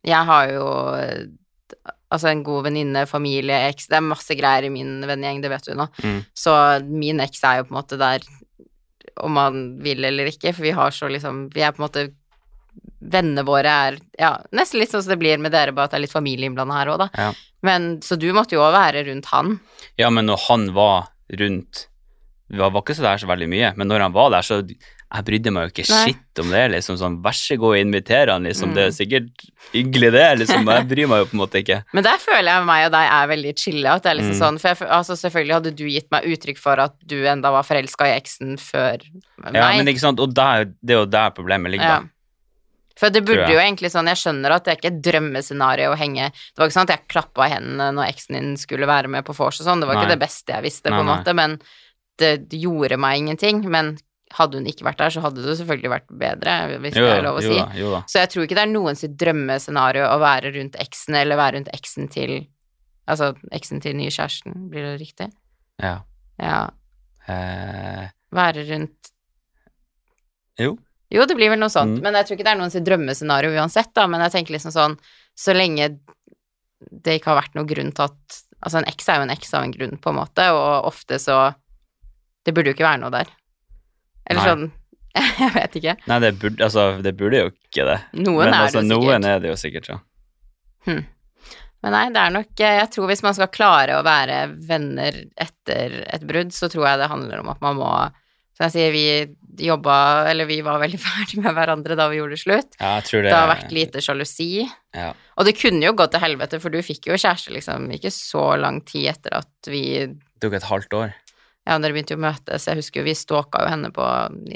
A: Jeg har jo eh, altså en god venninne, familie, eks Det er masse greier i min vennegjeng, det vet du nå.
B: Mm.
A: Så min eks er jo på en måte der om man vil eller ikke, for vi har så liksom Vi er på en måte Vennene våre er ja, nesten litt sånn som det blir med dere, bare at det er litt familie innblanda her òg, da.
B: Ja.
A: Men, så du måtte jo òg være rundt han.
B: Ja, men når han var rundt Det var var ikke så der så veldig mye, men når han var der, så jeg brydde meg jo ikke
A: Nei.
B: skitt om det. liksom sånn, Vær så god, inviter han, liksom.
A: Mm.
B: Det er sikkert hyggelig, det. liksom, men Jeg bryr meg jo på en måte ikke.
A: Men der føler jeg meg og deg er veldig chille. At det er liksom
B: Mm.
A: sånn, for jeg, fø- altså selvfølgelig hadde du gitt meg uttrykk for at du enda var forelska i eksen før meg.
B: Ja, men ikke sant, Og der, det er jo der problemet ligger,
A: Ja.
B: da.
A: For det
B: Tror
A: burde
B: jeg.
A: jo egentlig sånn, jeg skjønner at det er ikke et drømmescenario å henge Det var ikke sånn at jeg klappa i hendene når eksen din skulle være med på vors og sånn, det var
B: Nei.
A: ikke det beste jeg visste,
B: Nei,
A: på en
B: nei.
A: måte, men det det gjorde meg ingenting. Men hadde hun ikke vært der, så hadde det selvfølgelig vært bedre, hvis
B: Jo,
A: det
B: da,
A: er lov å
B: jo,
A: si.
B: da, jo da.
A: Så jeg tror ikke det er noen sitt drømmescenario å være rundt eksen, eller være rundt eksen til Altså eksen til nye kjæresten, blir det riktig?
B: Ja.
A: Ja.
B: Eh,
A: Være rundt
B: jo.
A: Jo, det blir vel noe sånt,
B: Mm.
A: men jeg tror ikke det er noen sitt drømmescenario uansett, da, men jeg tenker liksom sånn Så lenge det ikke har vært noen grunn til at Altså, en eks er jo en eks av en grunn, på en måte, og ofte så Det burde jo ikke være noe der. Eller
B: Nei.
A: sånn Jeg vet ikke.
B: Nei, det burde, altså, det burde jo ikke det.
A: Noen
B: men
A: er
B: altså,
A: det jo sikkert.
B: noen er det jo sikkert, ja.
A: Men nei, det er nok eh, Jeg tror hvis man skal klare å være venner etter et brudd, så tror jeg det handler om at man må Som jeg sier, vi jobba Eller vi var veldig ferdig med hverandre da vi gjorde slutt.
B: ja jeg tror det,
A: Det har vært lite sjalusi.
B: Ja.
A: Og det kunne jo gått til helvete, for du fikk jo kjæreste liksom ikke så lang tid etter at vi
B: Det tok et halvt år.
A: ja, dere begynte jo å møtes. Jeg husker jo vi stalka jo henne på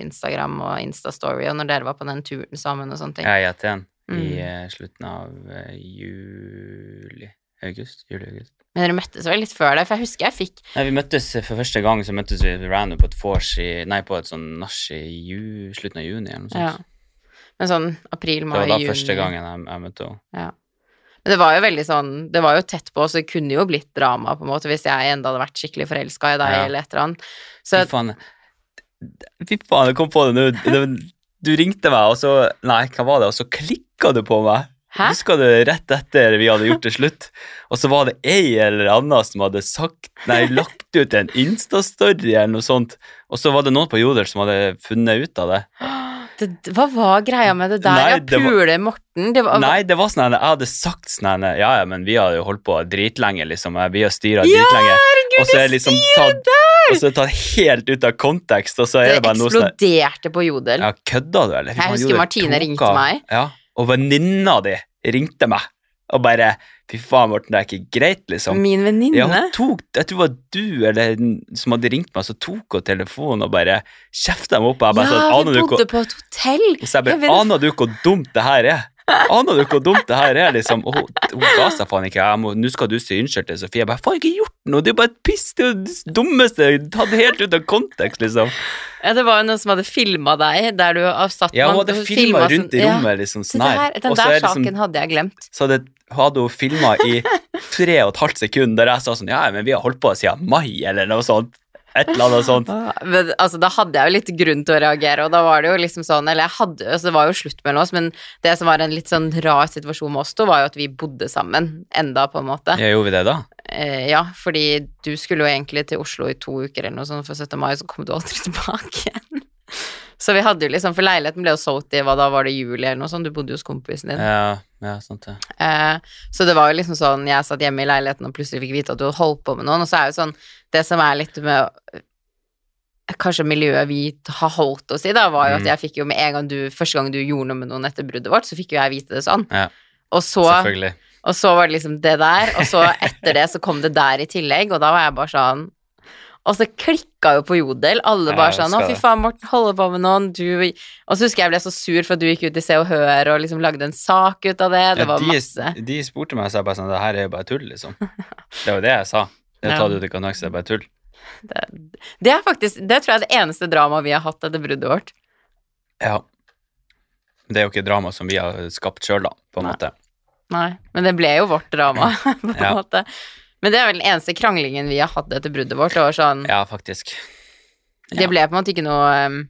A: Instagram og Instastory, og når dere var på den turen sammen og sånne ting.
B: Jeg er i Aten i
A: Mm.
B: eh, slutten av eh, juli August? Juli-august.
A: Men dere møttes vel litt før det, for jeg husker jeg fikk
B: Nei, vi møttes eh, for første gang så møttes vi random på et vors i Nei, på et sånn nach i ju, slutten av juni, eller noe
A: ja.
B: sånt.
A: Men sånn april,
B: det
A: mai,
B: var da
A: juni
B: første gangen jeg, jeg møtte henne.
A: Men det var jo veldig sånn Det var jo tett på, så det kunne jo blitt drama, på en måte, hvis jeg enda hadde vært skikkelig forelska i deg
B: Ja.
A: eller et eller annet. Så
B: Fy faen, fy faen, jeg kom på det nå. Det- Du ringte meg, og så Nei, hva var det? Og så klikka du på meg.
A: Hæ?
B: Husker du rett etter vi hadde gjort det slutt? Og så var det ei eller anna som hadde sagt Nei, lagt ut en Insta-story eller noe sånt. Og så var det noen på Jodel som hadde funnet ut av det.
A: Det, hva var greia med det der?
B: Nei,
A: ja,
B: det var-
A: pule Morten? Det var,
B: Nei, det var sånn her, jeg hadde sagt sånn her, Ja, ja, men vi har jo holdt på dritlenge, liksom. og Vi har styra dritlenge. Og så er jeg liksom tatt, og så er jeg tatt helt ut av kontekst, og så er
A: det
B: det bare noe sånn her,
A: eksploderte på Jodel.
B: Ja, kødda du, eller? Fy
A: Jeg
B: faen,
A: husker
B: Jodel
A: Martine
B: tok
A: ringte
B: av.
A: meg.
B: Ja, og venninna di ringte meg og bare Fy faen, Morten, det er ikke greit, liksom.
A: Min venninne?
B: Ja, hun tok, jeg tror det var du eller den som hadde ringt meg, så tok hun telefonen og bare kjefta meg opp. og Jeg bare sånn,
A: Ja, vi
B: aner du
A: bodde
B: hvor,
A: på et hotell.
B: og så jeg bare,
A: Jeg vet-
B: aner du hvor dumt det her er? Aner du hvor dumt det her er, liksom? Og hun, hun ga seg faen ikke. Jeg må- Nå skal du si unnskyld til Sofie. Jeg bare, faen, jeg har ikke gjort noe. Det er jo bare et piss. Det er jo det dummeste. Tatt helt ut av kontekst, liksom.
A: Ja, det var jo noen som hadde filma deg, der du har satt
B: Ja, hun
A: man-
B: hadde
A: filmet
B: filma
A: sånn-
B: rundt i
A: ja.
B: rommet, liksom
A: Se
B: sånn her.
A: der, den
B: Og så
A: der
B: er liksom-
A: saken hadde jeg glemt.
B: så hadde, hadde hun filma i tre og et halvt sekund, der jeg sa sånn Ja, men vi har holdt på siden mai, eller noe sånt. Et eller annet sånt.
A: Men, altså, da hadde jeg jo litt grunn til å reagere, og da var det jo liksom sånn Eller jeg hadde, altså, det var jo slutt mellom oss, men det som var en litt sånn rar situasjon med oss to, var jo at vi bodde sammen enda, på en måte.
B: Ja, gjorde vi det, da?
A: Eh, ja, fordi du skulle jo egentlig til Oslo i to uker eller noe sånt for 17. mai, så kom du aldri tilbake igjen. Så vi hadde jo liksom, for leiligheten ble jo solgt i, hva da, var det juli eller noe sånt, du bodde jo hos kompisen din.
B: Ja, ja sant det.
A: Eh, så det var jo liksom sånn, jeg satt hjemme i leiligheten og plutselig fikk vite at du hadde holdt på med noen, og så er jo sånn, det som er litt med eh, Kanskje miljøet vi har holdt oss i, da, var jo
B: Mm.
A: at jeg fikk jo med en gang du Første gang du gjorde noe med noen etter bruddet vårt, så fikk jo jeg vite det sånn.
B: Ja.
A: Og så
B: Selvfølgelig.
A: og så var det liksom det der, og så etter det så kom det der i tillegg, og da var jeg bare sånn Og så klikka jo på Jodel, alle bare
B: Ja, jeg
A: sånn Å,
B: husker
A: fy
B: det.
A: faen, Morten holder på med noen, du Og så husker jeg jeg ble så sur for at du gikk ut i Se og Hør og liksom lagde en sak ut av det, det
B: Ja,
A: var masse
B: de, de spurte meg, og så jeg bare sånn Det her er jo bare tull, liksom. Det var jo det jeg sa. Det
A: Ja.
B: tar du ut i kontekst, det er bare tull.
A: det, det er faktisk Det tror jeg er det eneste dramaet vi har hatt etter bruddet vårt.
B: Ja. Det er jo ikke drama som vi har skapt sjøl, da, på en
A: Nei.
B: måte.
A: Nei. Men det ble jo vårt drama, på en
B: Ja.
A: måte. Men det er vel den eneste kranglingen vi har hatt etter bruddet vårt. Det var sånn,
B: Ja, faktisk. ja.
A: det ble på en måte ikke noe um,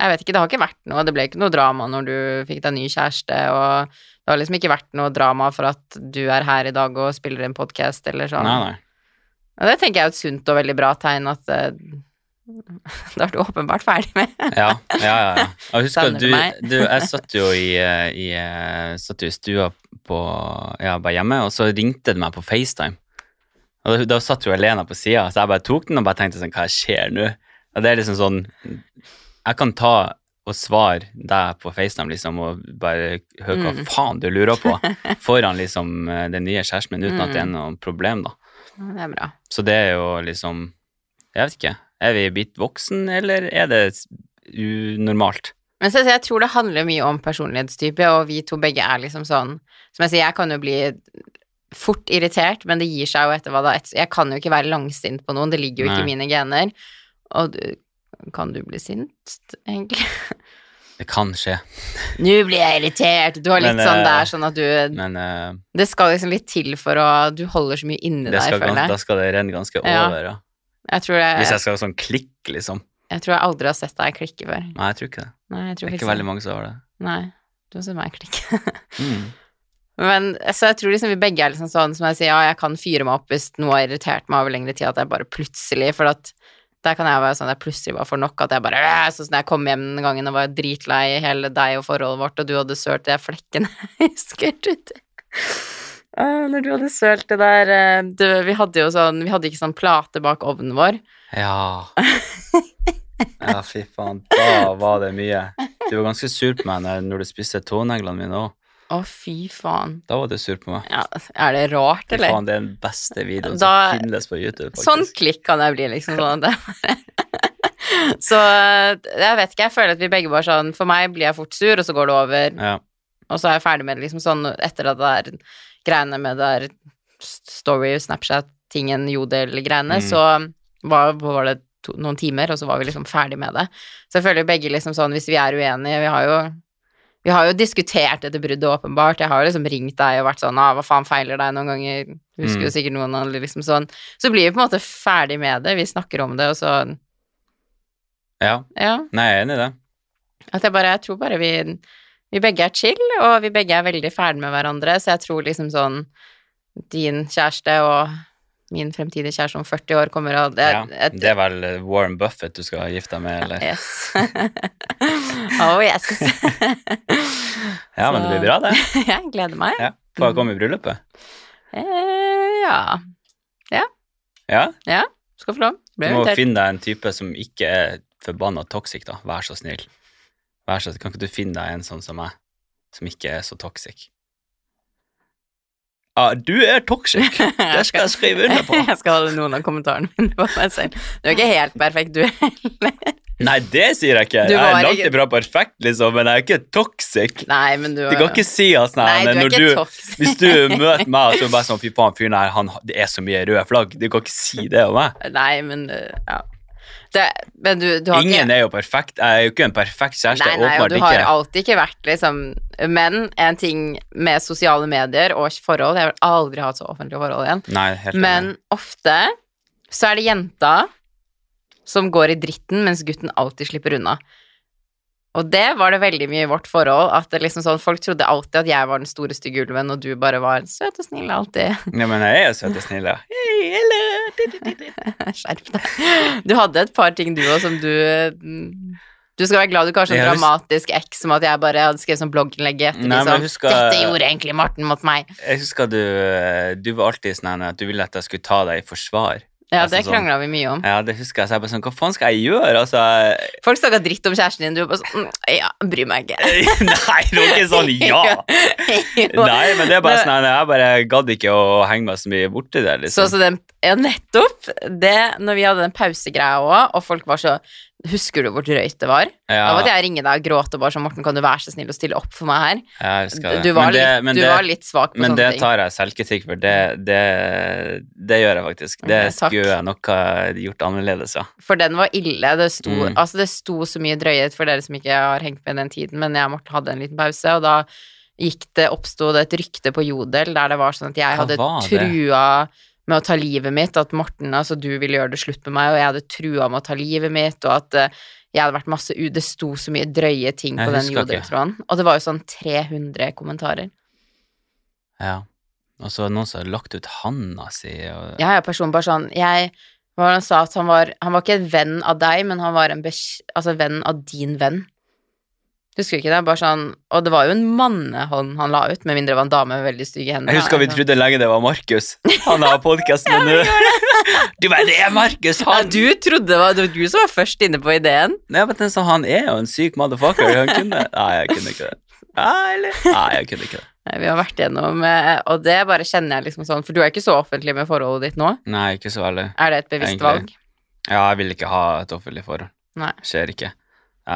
A: Jeg vet ikke, det har ikke vært noe. Det ble ikke noe drama når du fikk deg ny kjæreste, og det har liksom ikke vært noe drama for at du er her i dag og spiller en podkast eller sånn.
B: Nei, nei.
A: Og det tenker jeg er et sunt og veldig bra tegn at eh, det er du åpenbart ferdig med.
B: Ja, ja, ja. ja. Og husk
A: Savner
B: at
A: du
B: du,
A: meg?
B: du Jeg satt jo i, eh, i, eh, satt jo i stua på, ja, bare hjemme, og så ringte det meg på FaceTime. Og da, da satt jo Elena på sida, så jeg bare tok den og bare tenkte sånn Hva skjer nå? Og det er liksom sånn Jeg kan ta og svare deg på FaceTime liksom, og bare høre hva
A: Mm.
B: faen du lurer på foran liksom eh, den nye kjæresten min uten at det
A: Mm.
B: er noe problem, da.
A: Det er bra.
B: Så det er jo liksom Jeg vet ikke. Er vi blitt voksen, eller er det s- unormalt?
A: Men så, så jeg tror det handler mye om personlighetstype, og vi to begge er liksom sånn Som jeg sier, jeg kan jo bli fort irritert, men det gir seg jo etter hva da et- Jeg kan jo ikke være langsint på noen, det ligger jo ikke i
B: Nei.
A: mine gener. Og du, kan du bli sint, egentlig?
B: Det kan skje,
A: Nå blir jeg irritert! Du har litt
B: Men,
A: sånn Det
B: eh,
A: er sånn at du
B: men eh,
A: Det skal liksom litt til for å Du holder så mye inni
B: det
A: deg,
B: skal gans,
A: føler
B: da
A: jeg.
B: skal det renne ganske
A: Ja.
B: over. Ja.
A: Jeg tror jeg,
B: Hvis
A: jeg,
B: jeg skal sånn klikke, liksom.
A: tror jeg aldri har sett deg klikke før.
B: Nei, jeg tror ikke det.
A: Nei, jeg
B: Det
A: tror
B: er ikke
A: faktisk
B: veldig mange som har det.
A: Nei, du har sett meg klikke.
B: Mm.
A: Men så jeg tror liksom vi begge er liksom sånn som jeg sier, ja, jeg kan fyre meg opp hvis noe har irritert meg over lengre tid, at jeg bare plutselig For at der kan jeg være sånn at jeg plutselig bare får nok, at jeg bare «Åh!» Sånn som da jeg kom hjem den gangen og var dritlei hele deg og forholdet vårt, og du hadde sølt de der flekkene jeg husker du- Åh, Når du hadde sølt det der eh, du, Vi hadde jo sånn Vi hadde ikke sånn plate bak ovnen vår.
B: Ja. Ja, fy faen. Da var det mye. Du var ganske sur på meg når- når du spiste tåneglene mine òg.
A: Å, fy faen.
B: Da var du sur på meg.
A: Ja, er det rart,
B: Fy
A: eller?
B: faen, det er den beste videoen
A: Da-
B: som finnes på YouTube. faktisk.
A: Sånn klikk kan jeg bli, liksom. Sånn. at jeg- så eh, jeg vet ikke, jeg føler at vi begge bare sånn For meg blir jeg fort sur, og så går det over.
B: Ja.
A: Og så er jeg ferdig med det, liksom sånn etter at det er greiene med det der story, Snapchat-tingen, Jodel-greiene,
B: Mm.
A: så var, var det to, noen timer, og så var vi liksom ferdig med det. Så jeg føler begge liksom sånn, hvis vi er uenige Vi har jo vi har jo diskutert dette bruddet, åpenbart. Jeg har jo liksom ringt deg og vært sånn ah, 'Hva faen feiler deg?' noen ganger. Husker jo
B: Mm.
A: sikkert noen andre, liksom sånn. Så blir vi på en måte ferdig med det. Vi snakker om det, og så
B: ja.
A: Ja.
B: Nei, jeg er enig i det.
A: At jeg bare Jeg tror bare vi Vi begge er chill, og vi begge er veldig ferdig med hverandre, så jeg tror liksom sånn Din kjæreste og min fremtidige kjæreste om 40 år kommer og det,
B: Ja. Det er vel eh, Warren Buffett du skal gifte deg med, eller?
A: Yes. oh yes.
B: Ja, men det blir bra, det.
A: jeg gleder meg.
B: Ja. Får jeg komme i bryllupet?
A: Eh, ja.
B: Ja?
A: Skal få lov.
B: Du
A: Ble
B: må
A: invitert.
B: finne deg en type som ikke er forbanna toxic, da. Vær så snill. Vær så, kan ikke du finne deg en sånn som meg, som ikke er så toxic? Ja, du er toxic! Det skal jeg skrive under på!
A: Jeg skal holde noen av kommentarene mine på meg selv. Du er ikke helt perfekt, du heller.
B: Nei, det sier jeg ikke!
A: Du
B: Jeg er
A: var
B: langt
A: ikke-
B: ifra perfekt, liksom, men jeg er ikke toxic.
A: Nei, men du
B: Du kan ikke si at sånn
A: Nei,
B: her,
A: du er
B: når
A: ikke
B: du
A: toxic.
B: Hvis du møter meg og så er det bare sånn Fy faen, fyren her, han, det er så mye røde flagg. Du kan ikke si det om meg.
A: Nei, men uh, ja. Det, men du, du har
B: Ingen
A: ikke
B: er jo perfekt. Jeg er jo ikke en perfekt kjæreste.
A: Nei, nei, og
B: åpenbart
A: du har
B: ikke.
A: alltid ikke vært liksom Men en ting med sosiale medier og forhold Jeg vil aldri ha et så offentlig forhold igjen.
B: Nei, helt enig.
A: Men ofte så er det jenta som går i dritten, mens gutten alltid slipper unna. Og det var det veldig mye i vårt forhold. At det liksom sånn, Folk trodde alltid at jeg var den store stygge ulven, og du bare var søt og snill alltid.
B: Ja, men jeg er jo søt og snill, ja. Hei, hello.
A: Skjerp deg. Du hadde et par ting du òg som du mm, Du skal være glad du ikke har sånn
B: Jeg har lyst-
A: dramatisk eks som at jeg bare hadde skrevet sånn blogginnlegg etter
B: Nei,
A: de
B: men eh,
A: sånn
B: jeg husker-
A: 'Dette gjorde egentlig Morten mot meg'.
B: Jeg husker du, du var alltid sånn Anne, at du ville at jeg skulle ta deg i forsvar.
A: Ja,
B: Altså
A: det
B: sånn-
A: krangla vi mye om.
B: Ja, det husker jeg. Så jeg bare sånn, hva faen skal jeg gjøre? Altså, jeg-
A: Folk snakka dritt om kjæresten din, du var bare sånn «Mm, Ja, bryr meg ikke.
B: nei, det var ikke sånn ja!
A: Jo.
B: Nei, men det er bare
A: Det-
B: sånn Anne, jeg bare gadd ikke å henge meg så mye borti det,
A: Så,
B: liksom.
A: så den, ja, nettopp. Det, når vi hadde den pausegreia òg, og folk var så Husker du hvor drøyt det var? Da måtte
B: ja,
A: jeg ringe deg og gråte og bare sånn 'Morten, kan du være så snill å stille opp for meg her?'
B: jeg husker det.
A: Du var,
B: Men det-
A: litt,
B: men
A: du
B: det-
A: var litt svak på
B: Men
A: sånne
B: det
A: ting.
B: tar jeg selvkritikk for. Det, det, det gjør jeg faktisk. Det
A: Ok, takk.
B: skulle jeg nok ha gjort annerledes, ja.
A: For den var ille. Det sto,
B: Mm.
A: altså det sto så mye drøyhet for dere som ikke har hengt med den tiden, men jeg og Morten hadde en liten pause, og da gikk det, oppsto det et rykte på Jodel der det var sånn at jeg
B: Hva
A: hadde
B: var det?
A: trua med å ta livet mitt, at Morten, altså du ville gjøre det slutt med meg, og jeg hadde trua med å ta livet mitt, og at eh, jeg hadde vært masse u... Det sto så mye drøye ting
B: Jeg
A: på den
B: husker ikke.
A: jodeltråden, og det var jo sånn 300 kommentarer.
B: Ja. Og så er det noen som har lagt ut handa si, og
A: Jeg er personen bare sånn Jeg hva var det han sa at han var Han var ikke en venn av deg, men han var en bes- altså, venn av din venn. Husker du ikke det? Bare sånn Og det var jo en mannehånd han la ut, med mindre det var en dame med veldig stygge hender.
B: Jeg husker vi trodde lenge det var Markus. Han har podkasten nå. Du bare, det er Markus,
A: ja,
B: han!
A: Du trodde det var, det var du som var først inne på ideen.
B: Nei, men tenk så han er jo en syk motherfucker. Han kunne Nei, jeg kunne ikke det. Nei, eller? Nei, jeg kunne ikke det.
A: Nei, Vi har vært gjennom eh, Og det bare kjenner jeg liksom sånn For du er ikke så offentlig med forholdet ditt nå.
B: Nei, ikke så veldig.
A: Er det et bevisst
B: Egentlig.
A: valg?
B: Ja, jeg vil ikke ha et offentlig forhold.
A: Nei.
B: Skjer ikke.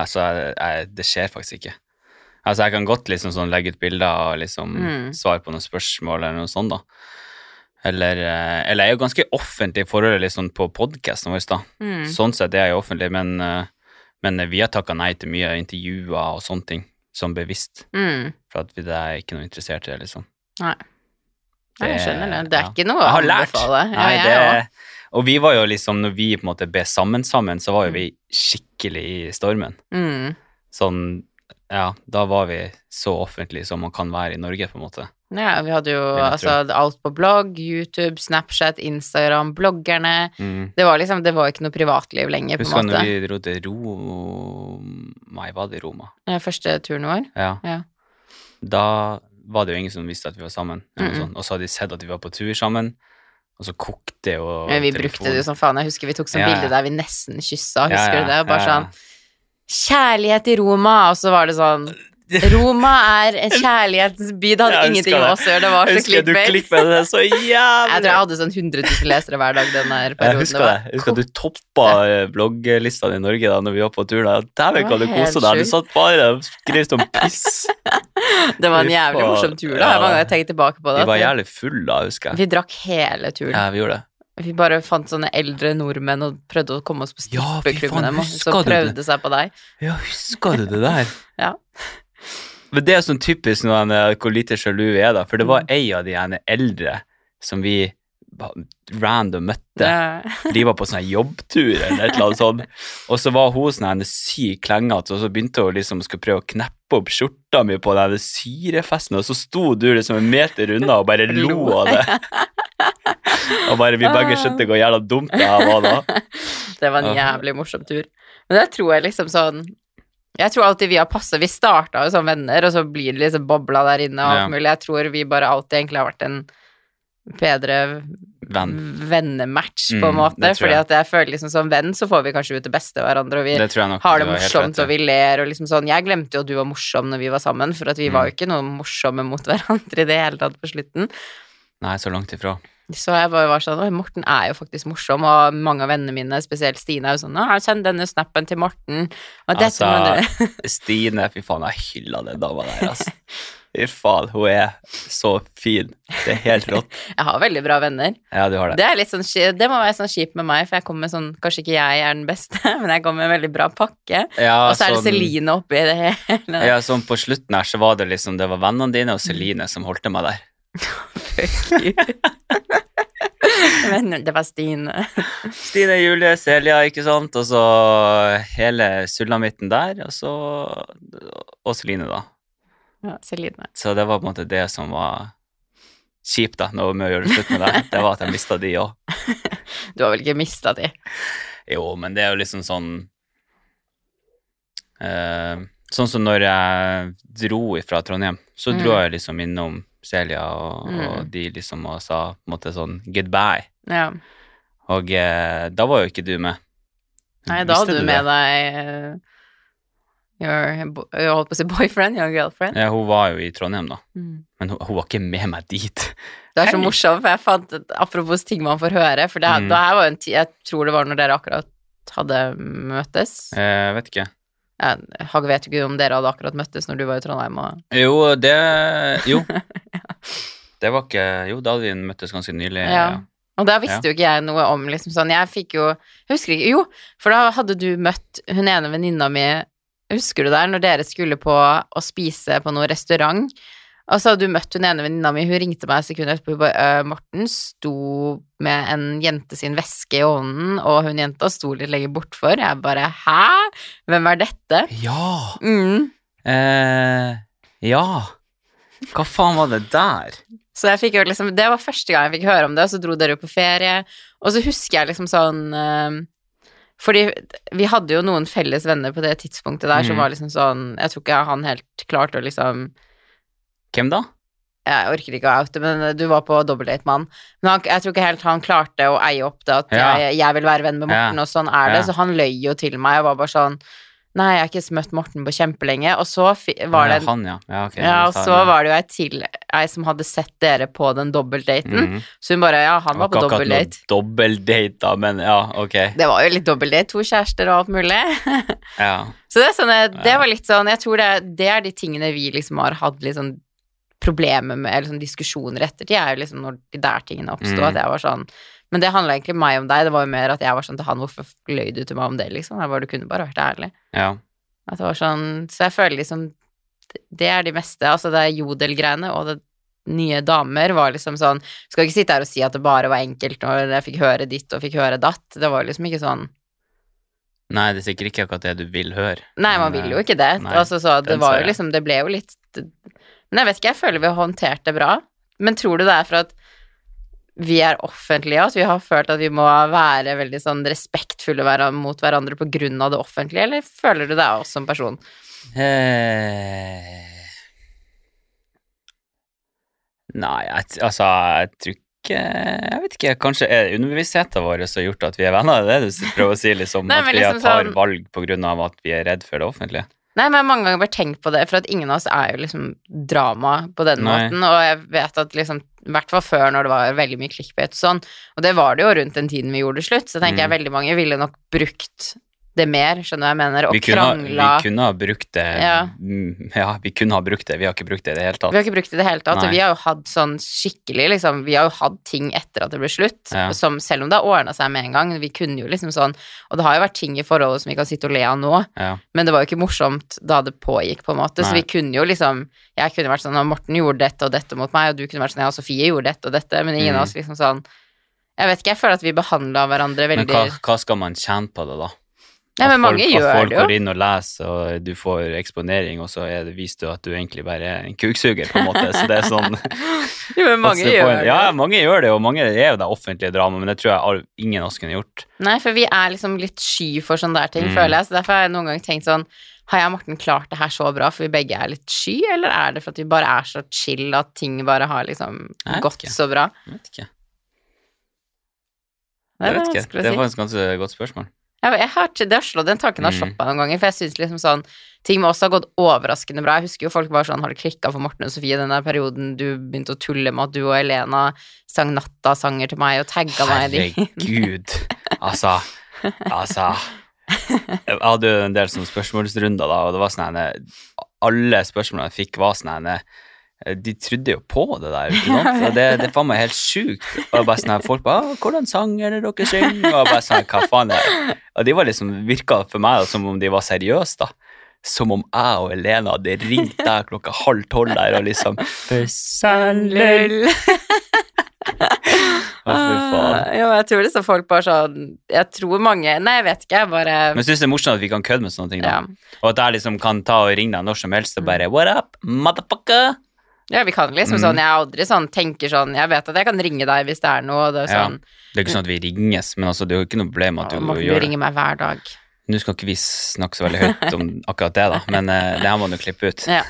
B: Altså, jeg, jeg, det skjer faktisk ikke. Altså, jeg kan godt liksom sånn legge ut bilder og liksom
A: Mm.
B: svare på noen spørsmål eller noe sånt, da. Eller, eh, eller jeg er jo ganske offentlig i forholdet liksom på podkasten vår, da.
A: Mm.
B: Sånn sett er jeg offentlig, men, eh, men vi har takka nei til mye intervjuer og sånne ting, som bevisst,
A: Mm.
B: for at vi, det er ikke noe interessert i det, liksom.
A: Nei. Nei, jeg skjønner det. Det er
B: ja.
A: ikke noe å
B: Jeg har lært.
A: anbefale.
B: Nei,
A: jeg også.
B: det, og vi var jo liksom, når vi på en måte ble sammen sammen, så var jo vi skikkelig i stormen.
A: Mm.
B: Sånn, ja, da var vi så offentlige som man kan være i Norge, på en måte.
A: Ja, vi hadde jo
B: Vil jeg
A: altså, alt på blogg, YouTube, Snapchat, Instagram, bloggerne.
B: Mm.
A: Det var liksom, det var ikke noe privatliv lenger, på
B: Husker
A: en
B: du når
A: måte.
B: vi dro til Roma? Var det Roma?
A: Eh, Første turen vår.
B: Ja.
A: Ja.
B: Da var det jo ingen som visste at vi var sammen. eller noe
A: Mm-mm.
B: sånt. Og så hadde de sett at vi var på tur sammen, og så kokte jo
A: Men vi
B: telefonen.
A: brukte det jo som faen. Jeg husker vi tok sånn
B: Ja, ja.
A: bilde der vi nesten kyssa,
B: Ja,
A: husker
B: ja,
A: du det? Og Bare
B: ja, ja.
A: sånn Kjærlighet i Roma! Og så var det sånn Roma er en kjærlighetens by. Det hadde
B: Jeg
A: ingenting
B: husker
A: med
B: det.
A: oss å gjøre, det var
B: Jeg
A: så
B: husker du
A: clickbait.
B: klippet det så jævlig!
A: Jeg tror jeg hadde sånn 100 000 lesere hver dag den der
B: Jeg
A: perioden.
B: husker det. Jeg husker at du toppa eh, blogglista i Norge da når vi var på tur. da. Dæven,
A: Det
B: kan
A: var
B: du kose
A: helt
B: deg! Du
A: sjukt.
B: satt bare og skrev sånn piss.
A: Det var en
B: Fy
A: jævlig
B: faen.
A: morsom tur, da. Hver gang jeg tenker tilbake på det.
B: Vi var
A: at
B: jævlig fulle da, husker jeg.
A: Vi drakk hele turen.
B: Ja, vi gjorde det.
A: Vi bare fant sånne eldre nordmenn og prøvde å komme oss på
B: Ja, fy
A: strippeklubb
B: faen,
A: med dem, og så
B: husker du
A: prøvde seg på deg.
B: Ja, husker du det der?
A: Ja.
B: Men det er sånn typisk når han, eh, hvor lite sjalu vi er, da. For det var ei av de ene eldre som vi ba- random møtte.
A: Det-
B: De var på sånn her jobbtur eller et eller annet sånt. Og så var hun sånn her sykt klengete, og så begynte hun liksom skulle prøve å kneppe opp skjorta mi på den her syrefesten, og så sto du liksom en meter unna og bare lo av det. Og bare vi begge skjønte hvor jævla dumt det her var da.
A: Det var en
B: Ja.
A: jævlig morsom tur. Men det tror jeg liksom sånn Jeg tror alltid vi har passa. Vi starta jo som venner, og så blir det liksom bobla der inne og
B: Ja.
A: alt mulig. Jeg tror vi bare alltid egentlig har vært en bedre
B: Venn.
A: vennematch, på en
B: Mm,
A: måte.
B: det tror
A: Fordi
B: jeg.
A: at jeg føler liksom som venn så får vi kanskje ut det beste av hverandre, og vi
B: Det tror jeg nok
A: Eh, har det
B: du har helt
A: morsomt,
B: rett i.
A: og vi ler, og liksom sånn Jeg glemte jo at du var morsom når vi var sammen, for at vi
B: Mm.
A: var jo ikke noe morsomme mot hverandre i det hele tatt på slutten.
B: Nei, så langt ifra.
A: Så jeg bare var sånn Oi, Morten er jo faktisk morsom, og mange av vennene mine, spesielt Stine, er jo sånn Å, send denne snappen til Morten, og sånn dette
B: Altså,
A: må du
B: Stine, fy faen, jeg hylla den dama der, altså. Fy faen, hun er så fin. Det er helt rått.
A: Jeg har veldig bra venner.
B: Ja, du har det.
A: Det, er litt sånn, ski- det må være sånn kjipt med meg, for jeg kommer med sånn Kanskje ikke jeg er den beste, men jeg kommer med en veldig bra pakke.
B: Ja,
A: Og så er det
B: sånn-
A: Celine oppi det hele.
B: Ja, sånn på slutten her så var det liksom Det var vennene dine og Celine som holdt meg der.
A: Men det var Stine.
B: Stine, Julie, Celia, ikke sant? Og så hele sulamitten der, og så Og Celine, da.
A: Ja, Celine.
B: Så det var på en måte det som var kjipt, da, når vi gjorde slutt med det. Det var at jeg mista de òg.
A: Du har vel ikke mista de?
B: Jo, men det er jo liksom sånn eh, Sånn som når jeg dro fra Trondheim, så dro
A: Mm.
B: jeg liksom innom Celia, og,
A: Mm.
B: og de liksom og sa på en måte sånn goodbye.
A: Ja.
B: Og eh, da var jo ikke du med.
A: Nei, da
B: Visste
A: hadde du med
B: det?
A: deg eh, your, bo- Jeg holdt på å si boyfriend, your girlfriend.
B: Ja, hun var jo i Trondheim, da.
A: Mm.
B: Men hun, hun var ikke med meg dit.
A: Det er så
B: Hei.
A: morsomt, for jeg fant et- Apropos ting man får høre, for det,
B: Mm.
A: det her var jo en tid Jeg tror det var når dere akkurat hadde møttes.
B: Eh, vet ikke.
A: Jeg, Hage vet jo ikke om dere hadde akkurat møttes når du var i Trondheim og
B: Jo, det Jo. Det var ikke Jo, da hadde vi møttes ganske nylig.
A: Ja. Og da visste jo ikke jeg noe om liksom sånn Jeg fikk jo Jeg husker ikke Jo, for da hadde du møtt hun ene venninna mi Husker du der, når dere skulle på å spise på noen restaurant, Og så hadde du møtt hun ene venninna mi, hun ringte meg sekundet etterpå. Hun bare, «Øh, Morten sto med en jente sin veske i hånden, og hun jenta sto litt lenger bortfor. Jeg bare hæ? Hvem er dette?
B: Ja!
A: Mm.
B: Eh, ja. Hva faen var det der?
A: Så jeg fikk jo liksom, det var første gang jeg fikk høre om det, og så dro dere jo på ferie. Og så husker jeg liksom sånn eh, Fordi vi hadde jo noen felles venner på det tidspunktet der som
B: Mm.
A: var liksom sånn Jeg tror ikke han helt klarte å liksom
B: Hvem da?
A: Jeg orker ikke å oute, men eh, du var på dobbeldate med han. Men han, jeg tror ikke helt han klarte å eie opp det at
B: Ja.
A: jeg, jeg vil være venn med Morten,
B: Ja.
A: og sånn er det.
B: Ja.
A: Så han løy jo til meg og var bare sånn Nei, jeg har ikke møtt Morten på kjempelenge. Og så fi- var det
B: Ja,
A: en
B: Han, ja. Ja, ok.
A: ja, og så var det jo ei til ei som hadde sett dere på den dobbeltdaten.
B: Mhm.
A: Så hun bare Ja, Mm. han var på
B: Ikke akkurat noe
A: dobbeltdate.
B: Dobbeltdate, da, men ja, ok.
A: Det var jo litt dobbeltdate, to kjærester og alt mulig.
B: Ja.
A: så det, er sånn, eh, det var litt sånn Jeg tror det, det er de tingene vi liksom har hatt litt sånn problemer med, eller sånn diskusjoner ettertid, er jo liksom når de der tingene oppsto,
B: Mm.
A: at jeg var sånn Men det handla egentlig meg om deg, det var jo mer at jeg var sånn til han Hvorfor løy du til meg om det, liksom? Jeg bare, du kunne bare vært ærlig.
B: ja.
A: At det var sånn Så jeg føler liksom Det er de meste. Altså det er jodelgreiene og det nye damer var liksom sånn Skal ikke sitte her og si at det bare var enkelt når jeg fikk høre ditt og fikk høre datt. Det var liksom ikke sånn
B: Nei, det er sikkert ikke akkurat det du vil høre.
A: Nei, man
B: Men,
A: vil
B: eh,
A: jo ikke det.
B: nei,
A: altså, så det
B: den
A: var
B: ser
A: jo
B: jeg.
A: liksom Det ble jo litt Men jeg vet ikke, jeg føler vi har håndtert det bra. Men tror du det er for at vi er offentlige, at vi har følt at vi må være veldig sånn respektfulle hver- mot hverandre på grunn av det offentlige, eller føler du det er oss som person?
B: Eh, Nei, jeg, t- altså, jeg tror ikke Jeg vet ikke, kanskje er underbevisstheten vår som har gjort at vi er venner? Det er det du s- prøver å si, liksom?
A: Nei,
B: at
A: men
B: vi
A: liksom
B: tar
A: sånn-
B: valg på grunn av at vi er redd for det offentlige?
A: Nei, men jeg har mange ganger bare tenkt på det, for at ingen av oss er jo liksom drama på den
B: Nei.
A: måten, og jeg vet at liksom, i hvert fall før når det var veldig mye clickbait og sånn, og det var det jo rundt den tiden vi gjorde det slutt, så tenker jeg
B: Mm.
A: veldig mange ville nok brukt det mer, skjønner du hva jeg mener, og
B: Vi kunne, ha-
A: krangla.
B: vi kunne ha brukt det
A: Ja.
B: Mm, ja, vi kunne ha brukt det. Vi har ikke brukt det i det hele
A: Vi
B: tatt.
A: har ikke brukt det i det hele tatt, og
B: Nei.
A: vi har jo hatt sånn skikkelig liksom, Vi har jo hatt ting etter at det ble slutt,
B: Ja.
A: som selv om det har ordna seg med en gang, vi kunne jo liksom sånn Og det har jo vært ting i forholdet som vi kan sitte og le av nå,
B: Ja.
A: men det var jo ikke morsomt da det pågikk, på en måte, så
B: Nei.
A: vi kunne jo liksom Jeg kunne vært sånn «Å, Morten gjorde dette og dette mot meg, og du kunne vært sånn Ja, Sofie gjorde dette og dette, men ingen
B: Mm.
A: av oss liksom sånn Jeg vet ikke, jeg føler at vi behandla hverandre
B: Men
A: veldig
B: hva, hva skal man tjene på det, da?
A: Nei, men
B: At folk-
A: mange
B: at
A: gjør
B: folk
A: det jo.
B: går inn og leser, og du får eksponering, og så er det, viser du at du egentlig bare er en kuksuger, på en måte. Så det er sånn
A: Jo, men mange
B: Passe på
A: gjør
B: en-
A: det.
B: Ja, mange gjør det, og mange er jo det offentlige drama, men det tror jeg al- ingen av oss kunne gjort.
A: Nei, for vi er liksom litt sky for sånne der ting,
B: Mm.
A: føler jeg. Så derfor har jeg noen ganger tenkt sånn Har jeg og Morten klart det her så bra for vi begge er litt sky, eller er det for at vi bare er så chill at ting bare har liksom
B: Jeg vet
A: gått
B: ikke.
A: så bra?
B: Jeg vet ikke.
A: Nei, det
B: Jeg vet
A: er
B: ikke.
A: vanskelig
B: Det
A: å
B: er
A: si.
B: faktisk et ganske godt spørsmål.
A: Jeg, jeg har, det har slått, den tanken har
B: Mm.
A: slått meg noen ganger, for jeg syns liksom sånn Ting med oss har gått overraskende bra. Jeg husker jo folk var sånn Har det klikka for Morten og Sofie den der perioden du begynte å tulle med at du og Elena sang nattasanger til meg og tagga meg i de
B: Herregud. Altså, altså Jeg hadde jo en del sånne spørsmålsrunder, da, og det var sånn henne Alle spørsmålene jeg fikk, var sånn henne de trodde jo på det der, ikke sant? Og det, det er faen meg helt sjukt. Og bare sånn her, folk bare, «Å, 'Hvordan sanger er det dere synger?' Og bare sånn, hva faen er det? Og de var liksom, virka for meg da, som om de var seriøse, da. Som om jeg og Elena hadde ringt der klokka halv tolv der og liksom Besandlund
A: Lull.
B: Å, fy faen.
A: Ah, Ja, men jeg tror liksom folk bare sånn Jeg tror mange Nei, jeg vet ikke, jeg bare
B: Men jeg syns det er morsomt at vi kan kødde med sånne ting,
A: ja.
B: da.
A: Mm.
B: Og at jeg liksom kan ta og ringe deg når som helst og bare What up, motherfucker?
A: ja, vi kan liksom
B: Mm.
A: sånn Jeg er aldri sånn tenker sånn Jeg vet at jeg kan ringe deg hvis det er noe, og det er
B: Ja,
A: sånn
B: Det er ikke sånn at vi ringes, men altså, det er jo ikke noe problem at
A: «Å,
B: du
A: Morten, du
B: gjør det.
A: ringer meg hver dag.
B: Nå skal ikke vi snakke så veldig høyt om akkurat det, da, men eh, det her må du klippe ut.
A: Ja.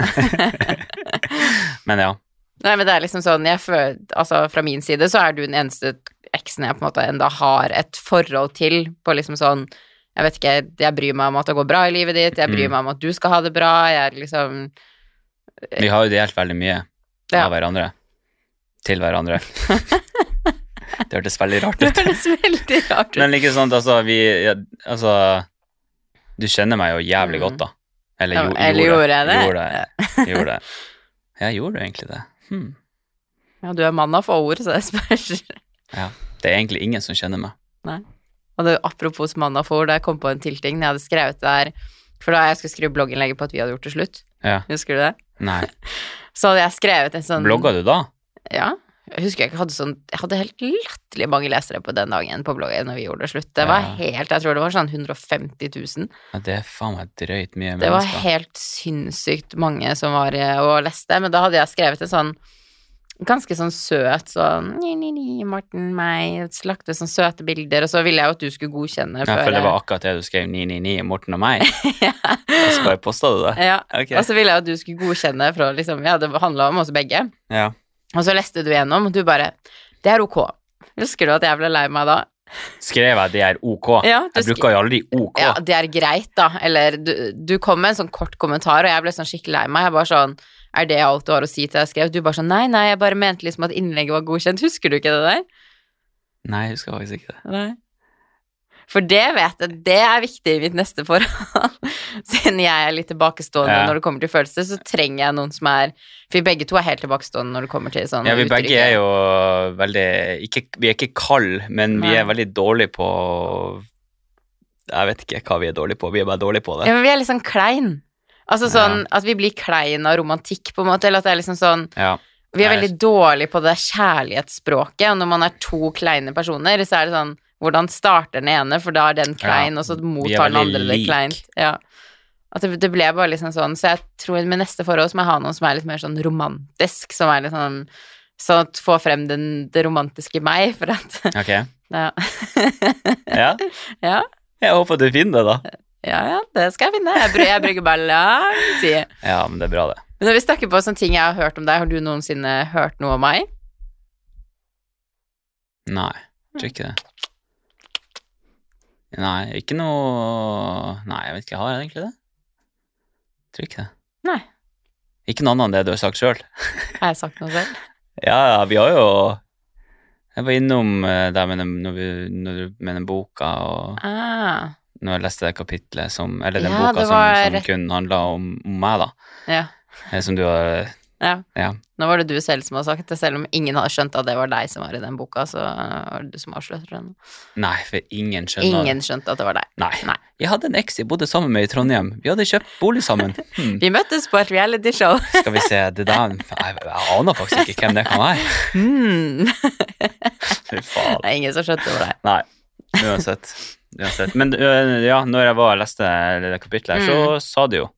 B: Men ja.
A: Nei, men det er liksom sånn jeg føler, Altså, fra min side så er du den eneste eksen jeg på en måte enda har et forhold til på liksom sånn Jeg vet ikke, jeg bryr meg om at det går bra i livet ditt, jeg bryr
B: Mm.
A: meg om at du skal ha det bra, jeg er liksom
B: Vi har jo delt veldig mye
A: Ja.
B: av hverandre. Til hverandre. det hørtes veldig rart
A: Det
B: ut.
A: høres veldig rart ut.
B: Men ikke sant, altså, vi ja, Altså, du kjenner meg jo jævlig godt, da.
A: Mm. Ja,
B: Eller, jo,
A: eller gjorde jeg det?
B: Gjorde, jeg- gjorde jeg. Ja, gjorde du egentlig det? Hmm.
A: Ja, du er mann av få ord, så det spørs.
B: Det er egentlig ingen som kjenner meg.
A: Og det, apropos mann av få ord, da jeg kom på en til ting jeg hadde skrevet der For da jeg skulle skrive blogginnlegget på at vi hadde gjort det slutt,
B: Ja.
A: husker du det?
B: Nei.
A: Så hadde jeg skrevet en sånn
B: Blogga du da?
A: Ja. Jeg husker jeg ikke hadde sånn Jeg hadde helt latterlig mange lesere på den dagen på bloggen når vi gjorde det slutt. Det var
B: Ja.
A: helt Jeg tror det var sånn 150 000.
B: Ja, det er faen meg drøyt mye
A: Det var
B: mennesker.
A: helt sinnssykt mange som var eh, og leste, men da hadde jeg skrevet en sånn ganske sånn søt sånn ni, ni, ni, Morten, meg, lagt ut sånne søte bilder, og så ville jeg jo at du skulle godkjenne
B: Ja, for
A: før
B: det var
A: jeg-
B: akkurat det du skrev 999 Morten og meg. Og så bare posta du det.
A: eh, ja. Altså-
B: Ok.
A: Og så ville jeg at du skulle godkjenne fra liksom Ja, det handla om oss begge.
B: Ja.
A: Og så leste du gjennom, og du bare Det er ok. Husker du at jeg ble lei meg da?
B: Skrev jeg det er ok?
A: Ja, du
B: Jeg
A: sk-
B: bruker jo aldri ok.
A: Ja, det er greit, da. Eller du, du kom med en sånn kort kommentar, og jeg ble sånn skikkelig lei meg. Jeg bare sånn Er det alt du har å si til jeg skrev? Du bare sånn Nei, nei, jeg bare mente liksom at innlegget var godkjent. Husker du ikke det der?
B: Nei, jeg husker faktisk ikke det.
A: Nei. For det vet jeg, det er viktig i mitt neste forhold. Siden jeg er litt tilbakestående
B: Ja.
A: når det kommer til følelser, så trenger jeg noen som er For vi begge to er helt tilbakestående når det kommer til sånn
B: Ja, vi begge
A: uttrykke.
B: er jo veldig ikke, Vi er ikke kalde, men vi
A: Nei.
B: er veldig dårlige på Jeg vet ikke hva vi er dårlige på, vi er bare dårlige på det.
A: Ja, men vi er litt sånn klein. Altså sånn at vi blir klein av romantikk, på en måte, eller at det er liksom sånn
B: Ja.
A: Vi er
B: Nei,
A: veldig dårlige på det kjærlighetsspråket, og når man er to kleine personer, så er det sånn Hvordan starter den ene, for da er den klein,
B: Ja,
A: og så
B: vi er
A: mottar den
B: veldig
A: andre det
B: lik.
A: kleint. Ja. At det, det ble bare liksom sånn, så jeg tror med neste forhold så må jeg ha noen som er litt mer sånn romantisk, som er litt sånn Sånn at få frem den, det romantiske i meg, for at
B: Ok.
A: ja.
B: Ja.
A: ja,
B: Jeg håper du finner det, da.
A: ja, ja, det skal jeg finne. Jeg, bru- jeg bruker bare lang tid.
B: Ja, men det er bra, det.
A: Men når vi snakker på sånne ting jeg har hørt om deg, har du noensinne hørt noe om meg?
B: Nei, jeg tror ikke det. Nei, ikke noe Nei, jeg vet ikke, har jeg egentlig det? Jeg tror ikke det.
A: Nei.
B: Ikke noe annet enn det du har sagt sjøl.
A: Har jeg sagt noe selv?
B: Ja, ja, vi har jo Jeg var innom eh, det med den, når vi, når, du- med den boka og
A: Ah,
B: når jeg leste det kapitlet som Eller den
A: Ja,
B: boka
A: det
B: som,
A: var
B: som
A: rett-
B: kun handla om, om meg, da.
A: ja.
B: Eh, Som du har
A: Ja.
B: Ja.
A: Nå var det du selv som har sagt det, selv om ingen hadde skjønt at det var deg som var i den boka. Så var det du som avslørte den.
B: Nei, for ingen skjønner
A: Ingen skjønte at det var deg.
B: Nei.
A: Nei.
B: Jeg hadde en eks jeg bodde sammen med i Trondheim. Vi hadde kjøpt bolig sammen. Hmm.
A: Vi møttes på et realityshow.
B: Skal vi se, det der Jeg, jeg aner faktisk ikke hvem det kan være.
A: Hmm.
B: Fy faen.
A: Det er ingen som skjønte det var deg.
B: Nei, uansett. uansett. Men ø, ja, når jeg var og leste det der kapitlet her,
A: Mm.
B: så sa det jo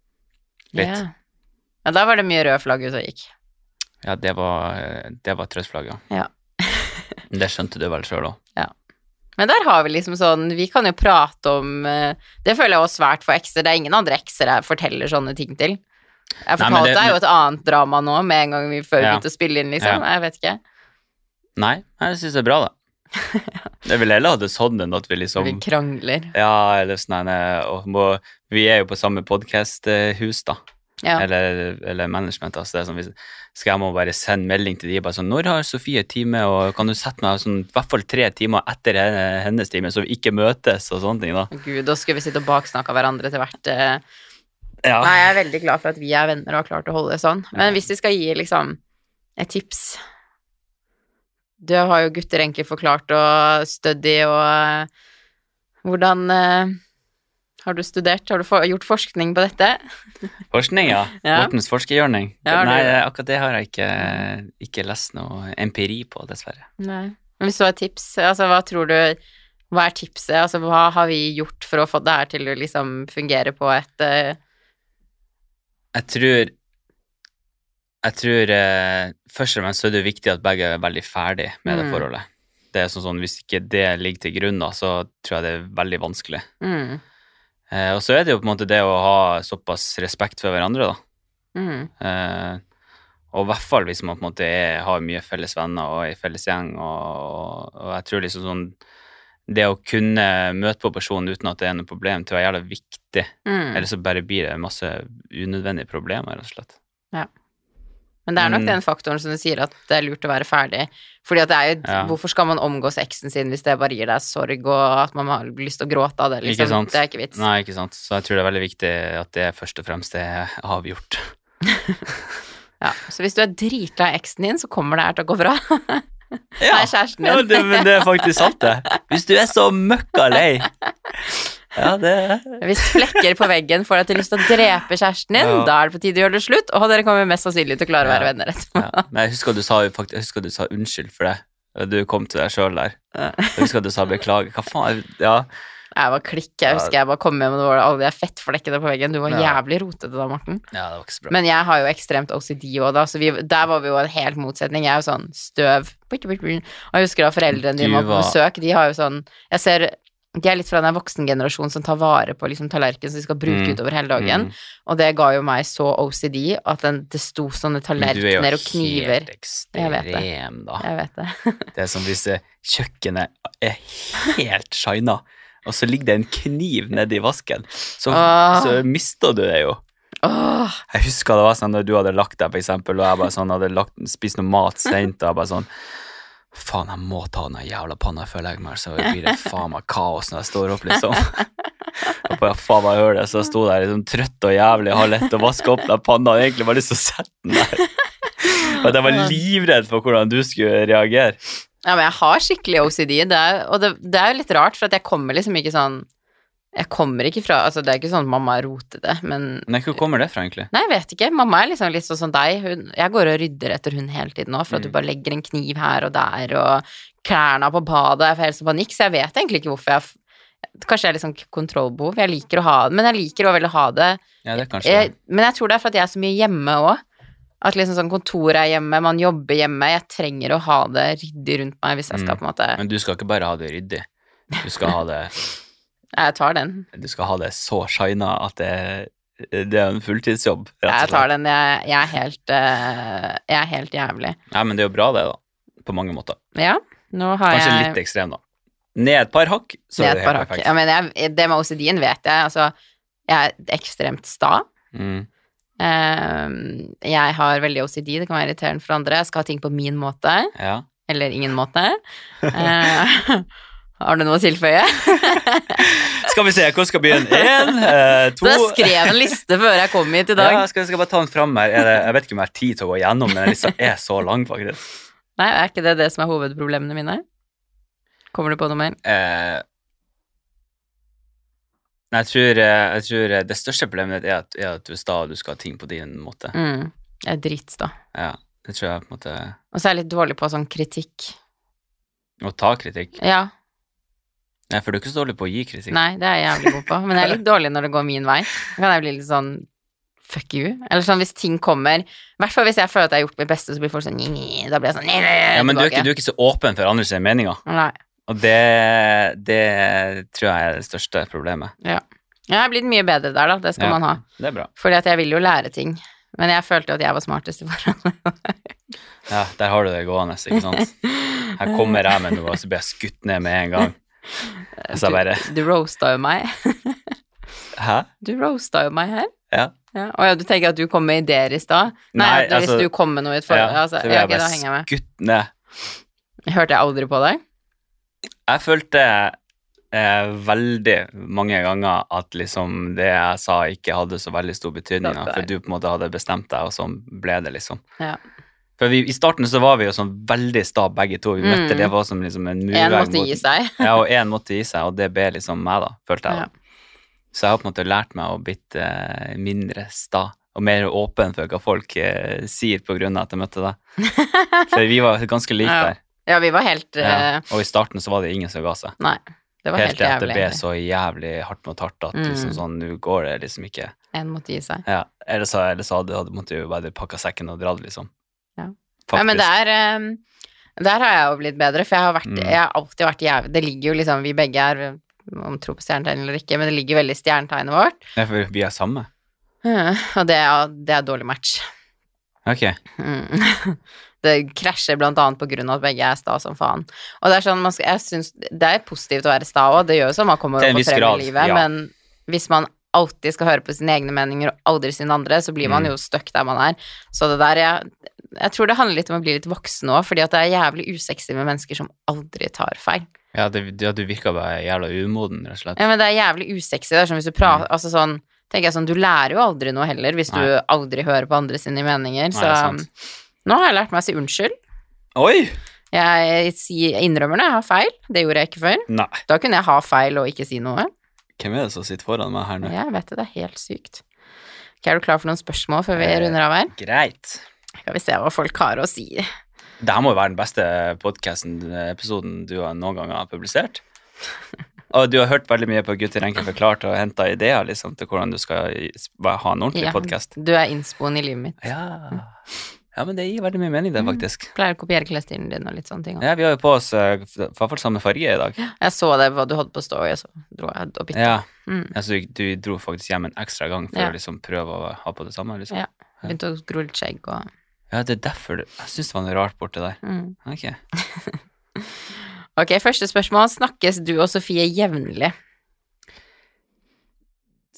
B: litt.
A: Ja. Men da var det mye røde flagg ute og gikk.
B: Ja, det var, det var trøstflagget.
A: Ja.
B: Det skjønte du vel sjøl òg.
A: Men der har vi liksom sånn Vi kan jo prate om eh, Det føler jeg også svært for ekser. Det er ingen andre ekser jeg forteller sånne ting til. Jeg
B: Nei, men
A: fortalte
B: det-
A: deg jo et annet drama nå med en gang vi før vi
B: Ja.
A: begynte å spille inn, liksom. Jeg vet ikke.
B: Nei, nei, jeg syns det er bra, da. Jeg ville heller hatt det sånn enn at vi liksom
A: Vi krangler.
B: Ja, eller sånn nei, og må, Vi er jo på samme podkasthus, da.
A: Ja.
B: Eller, eller management. Altså det er sånn, hvis, skal jeg må bare sende melding til de bare sånn 'Når har Sofie time, og kan du sette meg sånn, i hvert fall tre timer etter henne- hennes time, så vi ikke møtes?' og sånne ting, da.
A: Gud, da skulle vi sitte og baksnakke hverandre til hvert eh,
B: Ja.
A: Nei, jeg er veldig glad for at vi er venner og har klart å holde det sånn. Men hvis vi skal gi liksom et tips Du har jo gutter enkelt forklart og study og eh, Hvordan eh, Har du studert? Har du for, gjort forskning på dette?
B: Forskning, ja.
A: Ja.
B: Mortens forskergjørning.
A: Ja, det-
B: Nei, akkurat det har jeg ikke, ikke lest noe empiri på, dessverre.
A: Nei. Men hvis du har et tips, altså hva tror du Hva er tipset? Altså hva har vi gjort for å få det her til å liksom fungere på et eh,
B: Jeg tror Jeg tror eh, Først og fremst så er det jo viktig at begge er veldig ferdig med det
A: Mm.
B: forholdet. Det er sånn, sånn, Hvis ikke det ligger til grunn, da, så tror jeg det er veldig vanskelig.
A: mm,
B: Eh, og så er det jo på en måte det å ha såpass respekt for hverandre, da.
A: mm,
B: Eh, og i hvert fall hvis man på en måte er, har mye felles venner og er i felles gjeng. Og, og jeg tror liksom sånn Det å kunne møte på personen uten at det er noe problem, tror jeg er jævla viktig.
A: mm.
B: Ellers så bare blir det masse unødvendige problemer, rett og slett.
A: Men det er nok
B: Mm.
A: den faktoren som du sier at det er lurt å være ferdig. Fordi at det er jo,
B: Ja.
A: Hvorfor skal man omgås eksen sin hvis det bare gir deg sorg og at man har lyst til å gråte av det? Liksom.
B: Ikke sant?
A: Det er ikke vits.
B: Nei, ikke sant. Så jeg tror det er veldig viktig at det først og fremst er avgjort.
A: Ja. Så hvis du er dritlei eksen din, så kommer det her til å gå bra. Nei, kjæresten
B: Ja,
A: din.
B: det, men det er faktisk sant, det. Hvis du er så møkka lei Ja, det
A: Hvis flekker på veggen får deg til lyst til å drepe kjæresten din,
B: Ja.
A: da er det på tide å gjøre det slutt, og dere kommer mest sannsynlig til å klare å være
B: Ja.
A: venner etterpå.
B: ja. Men jeg husker du sa, jo fakt- jeg husker du sa unnskyld for det. Du kom til deg sjøl der. Jeg husker du sa beklager. Hva faen? Ja.
A: Jeg var klikk, jeg husker jeg bare kom hjem, og det var alle de fettflekkene på veggen. Du var
B: Ja.
A: jævlig rotete da, Morten.
B: ja, det var ikke så bra.
A: Men jeg har jo ekstremt OCD òg, da, så vi, der var vi jo en helt motsetning. Jeg er jo sånn støv blik, blik, blik. Og jeg husker da foreldrene dine
B: Du
A: var på
B: var-
A: besøk, de har jo sånn Jeg ser de er litt fra den voksengenerasjonen som tar vare på liksom, tallerkenen som de skal bruke
B: Mm.
A: utover hele dagen.
B: Mm.
A: Og det ga jo meg så OCD at den, det sto sånne
B: Men du er jo
A: tallerkener og kniver.
B: helt
A: Jeg vet det.
B: ekstrem, da.
A: Jeg vet det.
B: Det er som hvis eh, kjøkkenet er helt shina, og så ligger det en kniv nedi vasken. Så,
A: Åh.
B: så mister du det jo.
A: Åh,
B: Jeg husker det var sånn når du hadde lagt deg, for eksempel, og jeg bare sånn hadde lagt, spist noe mat sent, og jeg bare sånn Faen, jeg må ta den jævla panna før jeg legger meg, så blir det faen meg kaos når jeg står opp, liksom. Og på faen meg hører det, så jeg sto der liksom trøtt og jævlig, har lett å vaske opp den panna, og egentlig bare lyst til å sette den der. Og at jeg var livredd for hvordan du skulle reagere.
A: Ja, men jeg har skikkelig OCD, det er, og det, det er jo litt rart, for at jeg kommer liksom ikke sånn Jeg kommer ikke fra Altså, det er ikke sånn at mamma roter det, men
B: Nei, hvor kommer det fra, egentlig?
A: Nei, jeg vet ikke. Mamma er liksom litt sånn som deg. Hun, jeg går og rydder etter hun hele tiden nå, for at
B: Mm.
A: du bare legger en kniv her og der, og klærne på badet, og jeg får helt sånn panikk, så jeg vet egentlig ikke hvorfor jeg f- Kanskje jeg er litt sånn kontrollbehov. Jeg liker å ha det, men jeg liker å veldig ha det.
B: Ja, det er kanskje
A: Jeg,
B: det.
A: men jeg tror det er for at jeg er så mye hjemme òg. At liksom sånn kontoret er hjemme, man jobber hjemme. Jeg trenger å ha det ryddig rundt meg hvis jeg skal
B: Mm.
A: på en måte
B: Men du skal ikke bare ha det ryddig. Du skal ha det,
A: Jeg tar den.
B: du skal ha det så shina at det, det er en fulltidsjobb. Rett og
A: Jeg
B: slett.
A: tar den. Jeg, jeg er helt eh, Jeg er helt jævlig.
B: Nei, men det er jo bra, det, da. På mange måter.
A: Ja, nå har
B: Kanskje
A: jeg
B: litt ekstrem, da. Ned et par hakk, så
A: Det
B: er
A: er
B: det
A: et
B: helt
A: barakk.
B: perfekt.
A: Ja, men jeg, det med OCD-en vet jeg. Altså, jeg er ekstremt sta.
B: Mm.
A: Eh, jeg har veldig OCD, det kan være irriterende for andre. Jeg skal ha ting på min måte,
B: Ja.
A: eller ingen måte. Eh, har du noe å tilføye?
B: Skal vi se, hvor skal vi begynne? Én, eh, to
A: Så jeg skrev en liste før jeg kom hit i dag.
B: Ja, jeg skal, jeg skal bare ta den fram her. Er det, jeg vet ikke om jeg har tid til å gå gjennom, men den lista er så lang, faktisk.
A: Nei, er ikke det det som er hovedproblemene mine? Kommer du på noe mer?
B: Eh, Nei, jeg tror, eh, jeg tror eh, det største problemet ditt er at, er at du er sta og du skal ha ting på din måte.
A: Mm, jeg er dritsta.
B: Ja, det tror jeg på en måte
A: Og så er jeg litt dårlig på sånn kritikk.
B: Å ta kritikk.
A: Ja,
B: Nei, for du er ikke så dårlig på å gi kritikk.
A: Nei, det er jeg jævlig god på, men jeg er litt dårlig når det går min vei. Da kan jeg bli litt sånn fuck you. Eller sånn hvis ting kommer I hvert fall hvis jeg føler at jeg har gjort mitt beste, så blir folk sånn «Nj, nj», Da blir jeg sånn «Nj, nj, nj»,
B: ja, men du er, ikke,
A: tilbake.
B: du er ikke så åpen for andres meninger,
A: Nei.
B: og det, det tror jeg er det største problemet.
A: Jeg er blitt mye bedre der, da. Det skal
B: Ja.
A: man ha.
B: Det er bra.
A: Fordi at jeg vil jo lære ting. Men jeg følte jo at jeg var smartest i forhånd.
B: Ja, der har du det gående, ikke sant. Her kommer jeg med noe, og så blir jeg skutt ned med en gang. Og så jeg bare
A: Du roasta jo meg.
B: Hæ?
A: Du roasta jo meg her.
B: Ja.
A: Ja. Å ja, du tenker at du kom med ideer i stad? Nei,
B: Nei,
A: at hvis
B: altså-
A: du kom med noe i et forhold
B: Ja,
A: ja,
B: så
A: altså,
B: blir
A: ja,
B: jeg
A: ok, Da henger jeg
B: bare
A: med.
B: skutt ned.
A: Hørte jeg aldri på deg?
B: Jeg følte eh, veldig mange ganger at liksom det jeg sa, ikke hadde så veldig stor betydning,
A: Klart
B: da,
A: det er.
B: for du på en måte hadde bestemt deg, og sånn ble det, liksom.
A: Ja.
B: For vi, I starten så var vi jo sånn veldig sta begge to. Vi møtte
A: Mm.
B: det var som liksom en murvegg.
A: En måtte gi
B: mot-
A: seg.
B: Ja, og én måtte gi seg, og det ble liksom meg, da, følte jeg. da. Så jeg har på en måte lært meg å blitt eh, mindre sta og mer åpen for hva folk eh, sier på grunn av at jeg møtte deg. For vi var ganske like
A: Ja,
B: der.
A: Ja, vi var helt eh,
B: Ja. Og i starten så var det ingen som ga seg.
A: Nei, det var
B: Helt
A: helt,
B: til at det
A: jævlig.
B: ble så jævlig hardt mot hardt at liksom
A: Mm.
B: sånn, nå går det liksom ikke.
A: En måtte gi seg.
B: Ja, Ellers så, ellers så hadde, hadde måtte jo bare pakka sekken og dratt, liksom.
A: Ja.
B: Faktisk.
A: Ja, men det er ehm, Der har jeg jo blitt bedre, for jeg har, vært,
B: Mm.
A: jeg har alltid vært jævlig Det ligger jo liksom Vi begge er om tro på stjernetegn eller ikke, men det ligger veldig i stjernetegnet vårt.
B: Nei, for vi er samme.
A: Mm, Og det er, det er dårlig match.
B: Ok.
A: Mm. Det krasjer blant annet på grunn av at begge er sta som faen. Og det er sånn, man skal, jeg synes, det er positivt å være sta òg, det gjør jo sånn man kommer
B: Til en
A: opp og
B: viss
A: frem
B: grad,
A: i livet,
B: ja.
A: men hvis man alltid skal høre på sine egne meninger og aldri sine andre, så blir man
B: Mm.
A: jo stuck der man er. Så det der, jeg, jeg tror det handler litt om å bli litt voksen òg, fordi at det er jævlig usexy med mennesker som aldri tar feil.
B: Ja, det, ja, du virka bare jævla umoden, rett og slett.
A: Ja, men det er jævlig usexy, det er sånn hvis du prater, altså sånn, tenker jeg sånn, du lærer jo aldri noe heller hvis du
B: Mm. Nei.
A: aldri hører på andre sine meninger,
B: Nei,
A: så um,
B: det er sant.
A: nå har jeg lært meg å si unnskyld.
B: Oi!
A: Jeg sier- jeg innrømmer når jeg har feil. Det gjorde jeg ikke før.
B: Nei.
A: Da kunne jeg ha feil og ikke si noe.
B: Hvem er det som sitter foran meg her nå?
A: Jeg vet det, det er helt sykt. Ok, er du klar for noen spørsmål før vi
B: Eh.
A: runder av her?
B: Greit.
A: Skal vi se hva folk har å si.
B: Det her må jo være den beste podkasten-episoden du har noen gang har publisert. Og du har hørt veldig mye på Gutter enkelt forklart og henta ideer liksom, til hvordan du skal i- ha en ordentlig
A: Ja,
B: podcast.
A: Du er innspoen i livet mitt.
B: Ja. ja, men det gir veldig mye mening, det,
A: Mm.
B: faktisk.
A: Pleier å kopiere klesstilen din og litt sånne ting. også.
B: Ja, Vi har jo på oss eh, f- iallfall samme farge i dag.
A: Jeg så det, hva du hadde på story, og så dro jeg og bytta.
B: Ja,
A: Mm.
B: altså, du, du dro faktisk hjem en ekstra gang for
A: Ja.
B: å liksom prøve å ha på det samme. liksom.
A: Ja. Begynte å gro litt skjegg og
B: Ja, det er derfor du Jeg syns det var noe rart borti der.
A: mm.
B: Ok.
A: Ok, første spørsmål. Snakkes du og Sofie jevnlig?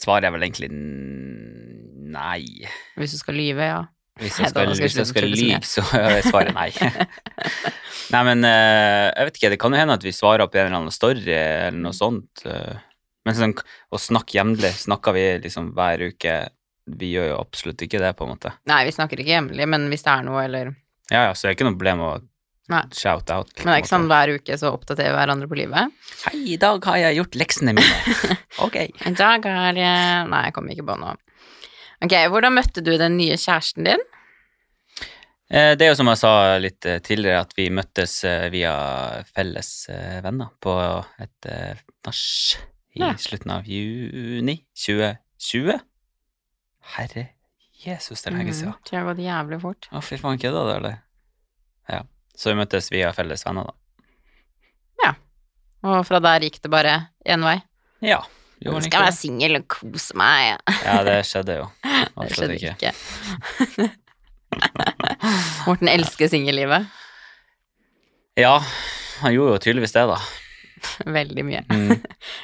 B: Svaret er vel egentlig n- nei.
A: Hvis du skal lyve, ja.
B: Hvis
A: Nei,
B: jeg skal,
A: da skal
B: hvis jeg
A: du
B: skal
A: tulle så mye.
B: lyve, så er svaret nei. nei, men eh, jeg vet ikke, det kan jo hende at vi svarer på en eller annen story eller
A: Mm.
B: noe sånt. eh. men sånn, å snakke jevnlig, snakker vi liksom hver uke? Vi gjør jo absolutt ikke det, på en måte.
A: Nei, vi snakker ikke jevnlig, men hvis det er noe, eller
B: Ja, ja, så det er ikke noe problem å
A: Nei.
B: shout out.
A: Men det er ikke sånn hver uke så oppdaterer vi hverandre på livet.
B: Hei, i dag har jeg gjort leksene mine. ok.
A: I dag er eh, Nei, jeg kommer ikke på noe. Ok, hvordan møtte du den nye kjæresten din?
B: Eh, Det er jo som jeg sa litt eh, tidligere, at vi møttes eh, via felles eh, venner på et eh, nach i
A: Ja.
B: slutten av juni 2020. Herre Jesus, det er lenge siden.
A: Mm, tror jeg har gått jævlig fort.
B: Å, fy faen, kødda du, eller? Ja. Så vi møttes via felles venner, da.
A: Og fra der gikk det bare én vei.
B: Ja. Jo,
A: Nå
B: men
A: skal jeg
B: ikke
A: være singel og kose meg.
B: det. Ja, det skjedde jo.
A: Det
B: Absolutt
A: skjedde
B: ikke.
A: ikke. Morten elsker singellivet
B: Ja, han gjorde jo tydeligvis det, da.
A: veldig mye.
B: Mm.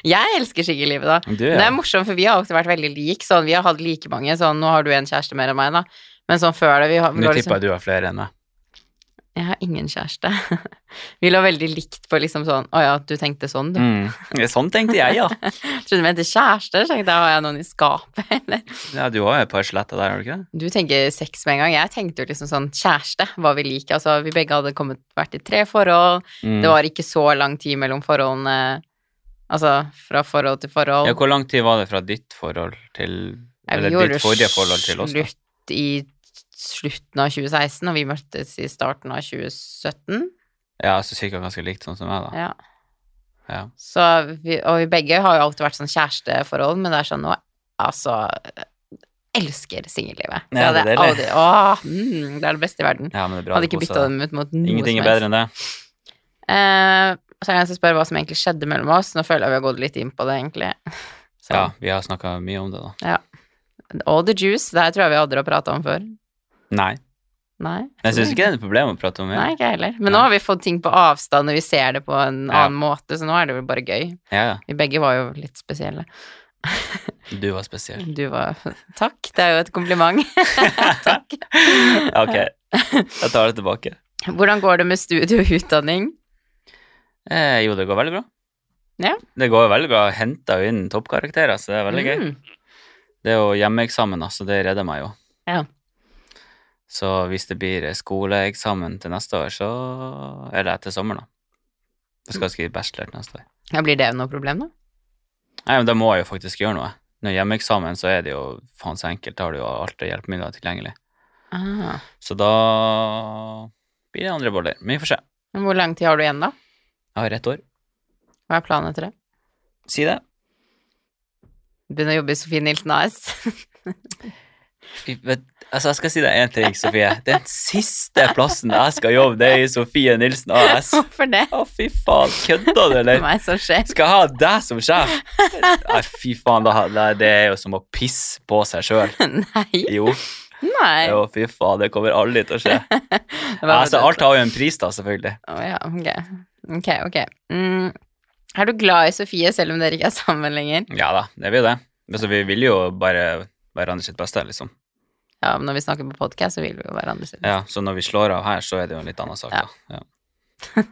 A: Jeg elsker singellivet, da.
B: Du,
A: Det
B: ja.
A: er morsomt, for vi har alltid vært veldig lik. Sånn, vi har hatt like mange. Sånn, nå har du en kjæreste mer enn meg, da. Men sånn før det vi har, vi
B: Nå
A: var
B: tipper
A: liksom,
B: jeg du har flere enn meg.
A: Jeg har ingen kjæreste. vi lå veldig likt på liksom sånn Å ja, du tenkte sånn, du.
B: Mm. Ja, Sånn tenkte jeg, ja.
A: Trodde du mente kjæreste? Så tenkte jeg, har jeg noen i skapet, eller?
B: ja. Du har jo et par sletter der, har du ikke det?
A: Du tenker sex med en gang. Jeg tenkte jo liksom sånn kjæreste, hva vi liker. Altså, vi begge hadde kommet, vært i tre forhold.
B: Mm.
A: Det var ikke så lang tid mellom forholdene. Altså fra forhold til forhold.
B: Ja, hvor lang tid var det fra ditt forhold til
A: Ja, vi
B: Eller
A: gjorde
B: ditt forrige forhold til oss, da?
A: slutt i slutten av 2016, og vi møttes i starten av 2017.
B: Ja, altså cirka ganske likt sånn som meg, da.
A: Ja.
B: Ja.
A: Så vi, og vi begge har jo alltid vært sånn kjæresteforhold, men det er sånn nå Altså Elsker singellivet.
B: Ja, det er
A: hadde
B: deilig.
A: jeg aldri- Åh, mm, det er det beste i verden.
B: ja, men det er bra
A: Hadde
B: du
A: ikke
B: koser
A: bytta
B: deg.
A: dem ut mot noe
B: Ingenting er
A: som helst.
B: bedre enn det.
A: Eh, så er jeg som spør hva som egentlig skjedde mellom oss. Nå føler jeg vi har gått litt inn på det, egentlig. Så,
B: Ja, vi har snakka mye om det, da.
A: All the juice. Det her tror jeg vi aldri har prata om før.
B: Nei.
A: Nei.
B: Men jeg syns ikke det er noe problem å prate om det.
A: Nei, ikke jeg heller. Men
B: Nei.
A: nå har vi fått ting på avstand, og vi ser det på en
B: Ja.
A: annen måte, så nå er det vel bare gøy.
B: Ja, ja.
A: Vi begge var jo litt spesielle.
B: Du var spesiell.
A: Du var Takk, det er jo et kompliment. Takk.
B: ok, jeg tar det tilbake.
A: Hvordan går det med studie og utdanning?
B: Eh, jo, det går veldig bra.
A: Ja.
B: Det går veldig bra. Henta jo inn toppkarakterer, så det er veldig gøy.
A: Mm.
B: Det er jo hjemmeeksamen, altså. Det redder meg jo.
A: Ja.
B: Så hvis det blir skoleeksamen til neste år, så Eller etter sommeren, da. Jeg skal skrive bachelor til neste år.
A: Ja, blir det noe problem, da?
B: Nei, men da må jeg jo faktisk gjøre noe. Når hjemmeeksamen så er det jo faen så enkelt, da har du jo alt av hjelpemidler tilgjengelig.
A: Ah.
B: Så da blir det andre boller. Men vi får se.
A: Men hvor lang tid har du igjen, da?
B: Jeg har ett år.
A: Hva er planen etter det?
B: Si det.
A: Begynne å jobbe i Sofie Nilsen AS?
B: Fy- vet- Altså, jeg skal si deg én ting, Sofie. Den siste plassen jeg skal jobbe, det er i Sofie Nilsen AS. Å,
A: Hvorfor det?
B: fy faen. Kødder du,
A: Det
B: eller?
A: er meg som skjer.
B: Skal jeg ha deg som sjef? Nei, fy faen. da- da- Det er jo som å pisse på seg sjøl.
A: Nei.
B: Jo,
A: Nei.
B: jo, fy faen. Det kommer aldri til å skje.
A: Det var
B: Altså, alt har jo en pris, da, selvfølgelig.
A: Å ja, ok. Ok, ok. Mm. Er du glad i Sofie selv om dere ikke er sammen lenger?
B: Ja da, det blir det. Men så vi vil jo bare hverandre sitt beste, liksom.
A: Ja, men når vi snakker på podcast så vil vi jo hverandre sitt.
B: Ja, så når vi slår av her, så er det jo en litt annen sak,
A: Ja.
B: da. Ja. Jeg